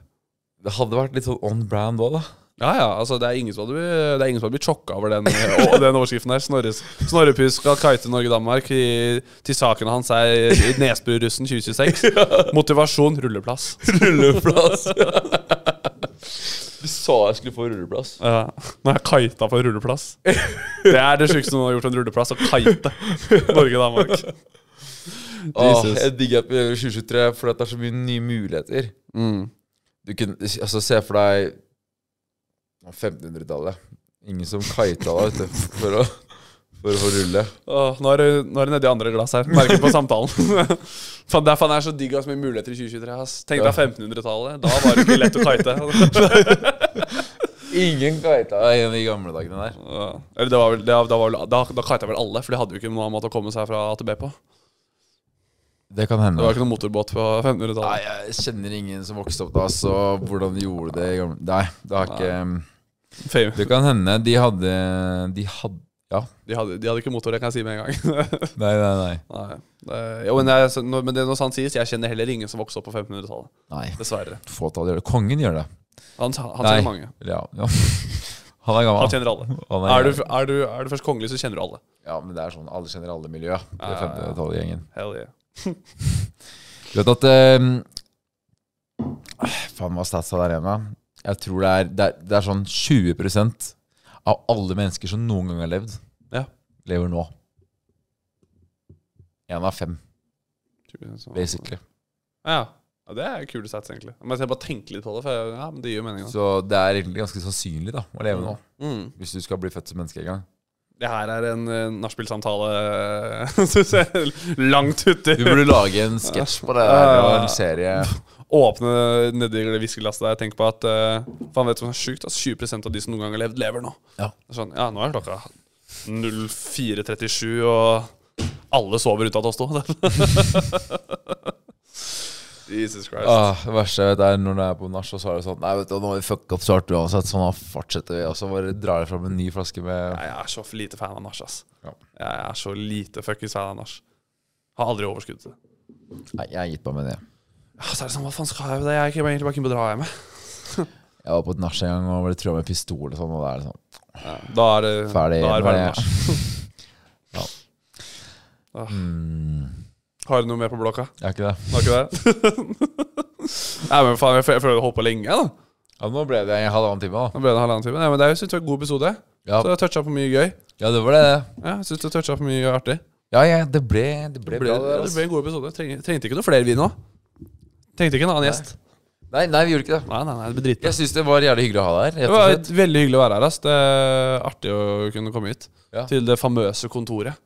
S4: Det hadde vært litt sånn on brand òg, da.
S3: Ja, ja, altså Det er ingen som hadde blitt, det er ingen som hadde blitt sjokka over den, og den overskriften der. Snorres, Snorrepus skal kite Norge-Danmark. i- Til saken hans er i Nesbrurussen 2026. Motivasjon rulleplass.
S4: Rulleplass. du sa jeg skulle få rulleplass.
S3: Ja, Nå har jeg kita på rulleplass. Det er det sjukeste noen har gjort en rulleplass, å kite Norge-Danmark.
S4: Åh,
S3: Jesus.
S4: jeg digger at vi gjør 2023, for det er så mye nye muligheter.
S3: Mm.
S4: Du kunne, altså Se for deg 1500-tallet. Ingen som kita da, vet du, for å, for å få rulle.
S3: Åh, nå er det nå er det nedi andre glass her. Merker på samtalen. Faen, det er faen det er så digg å ha så mye muligheter i 2023. ass. Tenk deg 1500-tallet. Da var det ikke lett å kite.
S4: Ingen kita i de gamle dagene der.
S3: Ja. Eller det var vel, det, var- da var vel, da, da kite vel alle, for de hadde jo ikke noen annen måte å komme seg fra A til B på.
S4: Det kan hende.
S3: Det var ikke noen motorbåt på 1500-tallet.
S4: Nei, jeg kjenner ingen som vokste opp da, så hvordan de gjorde det i gamle Nei, det har ikke
S3: Fame.
S4: Det kan hende de hadde De hadde Ja.
S3: De, hadde- de hadde ikke motor, det kan jeg si med en gang.
S4: Nei, nei, nei.
S3: Nei. Det, jo, men, jeg, så- når- men det er noe sant sies, jeg kjenner heller ingen som vokste opp på 1500-tallet.
S4: nei.
S3: Dessverre.
S4: Fåtall gjør det. Kongen gjør det.
S3: Han, han
S4: Nei.
S3: kjenner mange.
S4: Ja, ja. Han er
S3: Han
S4: gammel.
S3: kjenner alle.
S4: Han
S3: Er du,
S4: gammel.
S3: er, du, er du først kongelig, så kjenner du alle.
S4: Ja, men det er sånn alle kjenner alle-miljø. Det
S3: Ja, ja, ja.
S4: er 1500-tallet-gjengen.
S3: Hell yeah.
S4: Du vet at eh, Faen, hva statsa der igjen, da? Jeg tror det er, det er, det er sånn 20 av alle mennesker som noen gang har levd,
S3: Ja.
S4: lever nå. Én av fem, basically.
S3: sånn. Ja. ja, det er kule sats, egentlig. Men jeg bare tenker litt på det, for jeg, ja, men det gir jo mening. da.
S4: Så det er egentlig ganske sannsynlig da å leve nå,
S3: Mm.
S4: hvis du skal bli født som menneske en gang.
S3: Det her er en uh, nachspiel-samtale synes jeg, langt uti.
S4: Du burde lage en sketsj på det
S3: Ja,
S4: her,
S3: ja,
S4: og
S3: ja.
S4: en serie.
S3: Ah. Åpne nedi det whiskyglasset der. Tenk på at eh, Faen, vet du hva som er sjukt? Altså, 20 av de som noen gang har levd, lever nå.
S4: Ja.
S3: Det er Sånn, ja, nå er klokka 04.37, og alle sover unntatt oss to. Jesus Christ.
S4: Åh, Ah, det verste jeg vet er når du er på nach, og så er det sånn Nei, vet du, nå har vi fucka opp så hardt uansett, så nå fortsetter vi. Og så bare drar jeg fram en ny flaske med
S3: Nei, jeg er så for lite fan av nach, ass.
S4: Ja.
S3: Jeg er så lite fuckings fan av nach. Har aldri overskudd til det.
S4: Nei, jeg har gitt meg med det.
S3: Ja, så er det sånn, hva faen skal jeg med det? Jeg kan egentlig bare kunne dra hjem. jeg.
S4: Jeg var på et nach en gang og ble trua med pistol og sånn, og da er det sånn
S3: Da er det
S4: Ferdig.
S3: Da er det
S4: med
S3: ferdig
S4: det.
S3: nach. Ah. Har du noe mer på blokka?
S4: Jeg er ikke det.
S3: Har ikke det? Nei, men faen, jeg føler- jeg føler jeg holdt på lenge, da.
S4: Ja, nå ble det en halvannen time, da.
S3: Nå ble det en halvannen time. Nei, men det er jo- synes jeg var en god episode.
S4: Ja.
S3: Så jeg toucha på mye gøy.
S4: Ja, det var det.
S3: Ja, jeg synes du toucha på mye artig.
S4: Ja, ja, det ble Det ble,
S3: Det ble,
S4: bra, det.
S3: det
S4: Altså.
S3: ble en god episode. Trengte, trengte ikke noe flere vi nå. Trengte ikke en annen gjest.
S4: Nei, nei, vi gjorde ikke det.
S3: Nei, nei, nei, det blir dritbra.
S4: Jeg syns det var jævlig hyggelig å ha deg her.
S3: Det
S4: Rett og
S3: var
S4: slett.
S3: et veldig hyggelig å være her. Ass. Det er artig å kunne komme hit.
S4: Ja.
S3: Til det famøse kontoret.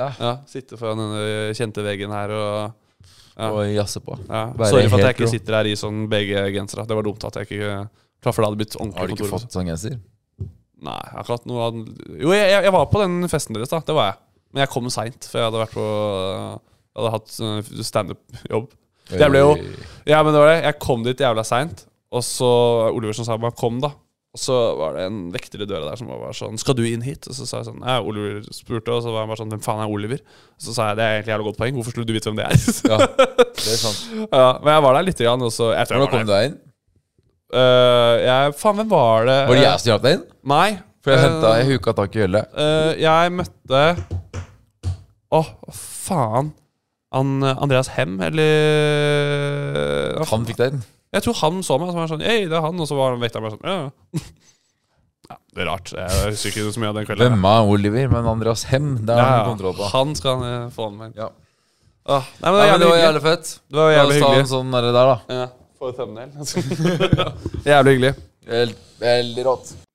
S4: Ja.
S3: Sitte foran denne kjente veggen her og ja.
S4: Og jazze på.
S3: ja.
S4: Være
S3: Sorry for at jeg
S4: hetero.
S3: ikke sitter her i sånn BG-genser. Det var dumt at jeg ikke Klart for det hadde blitt
S4: Har du
S3: ordentlig kontor.
S4: ikke fått sånn genser?
S3: Nei, jeg har ikke hatt noe ann- Jo, jeg, jeg, jeg var på den festen deres, da. Det var jeg. Men jeg kom seint, for jeg hadde vært på Jeg hadde hatt øh, standup-jobb. Jeg ble jo Ja, men det var det. Jeg kom dit jævla seint, og så Oliversen sa bare 'kom', da. Og så var det en vekter i døra der som bare var sånn 'Skal du inn hit?' Og så sa jeg sånn Ja, Oliver spurte, og så var han bare sånn 'Hvem faen er Oliver?' Og så sa jeg 'Det er egentlig jævla godt poeng. Hvorfor skulle du vite hvem det er?'
S4: Ja, det er sant.
S3: ja, men jeg var der lite grann, og så jeg tror jeg var
S4: Hvordan
S3: der.
S4: kom du deg inn?
S3: Øh, jeg, faen, hvem var det?
S4: Var det jeg som hjalp deg inn?
S3: Nei.
S4: For jeg
S3: øh,
S4: henta Jeg huka tak i Jølle.
S3: øh, jeg møtte Å, faen. Han, eh, Andreas Hem, eller Hva
S4: Han fikk deg inn.
S3: Jeg tror han så meg, og så var han sånn Hei, det er han. Og så var han vekteren bare sånn ja. ja». ja, det er rart. Jeg husker ikke så mye av den kvelden.
S4: Hvem er Oliver? Men Andreas Hem, det har
S3: Ja,
S4: han kontroll
S3: ja.
S4: på.
S3: Han skal han eh, få med.
S4: Ja.
S3: Åh, nei, men det var
S4: Nei, men
S3: jævlig
S4: det var
S3: hyggelig.
S4: jævlig fett.
S3: Det var
S4: La
S3: jævlig
S4: oss ta en
S3: hyggelig.
S4: sånn der, der da.
S3: Ja, Få thumbnail. jævlig hyggelig.
S4: Helt, helt rått.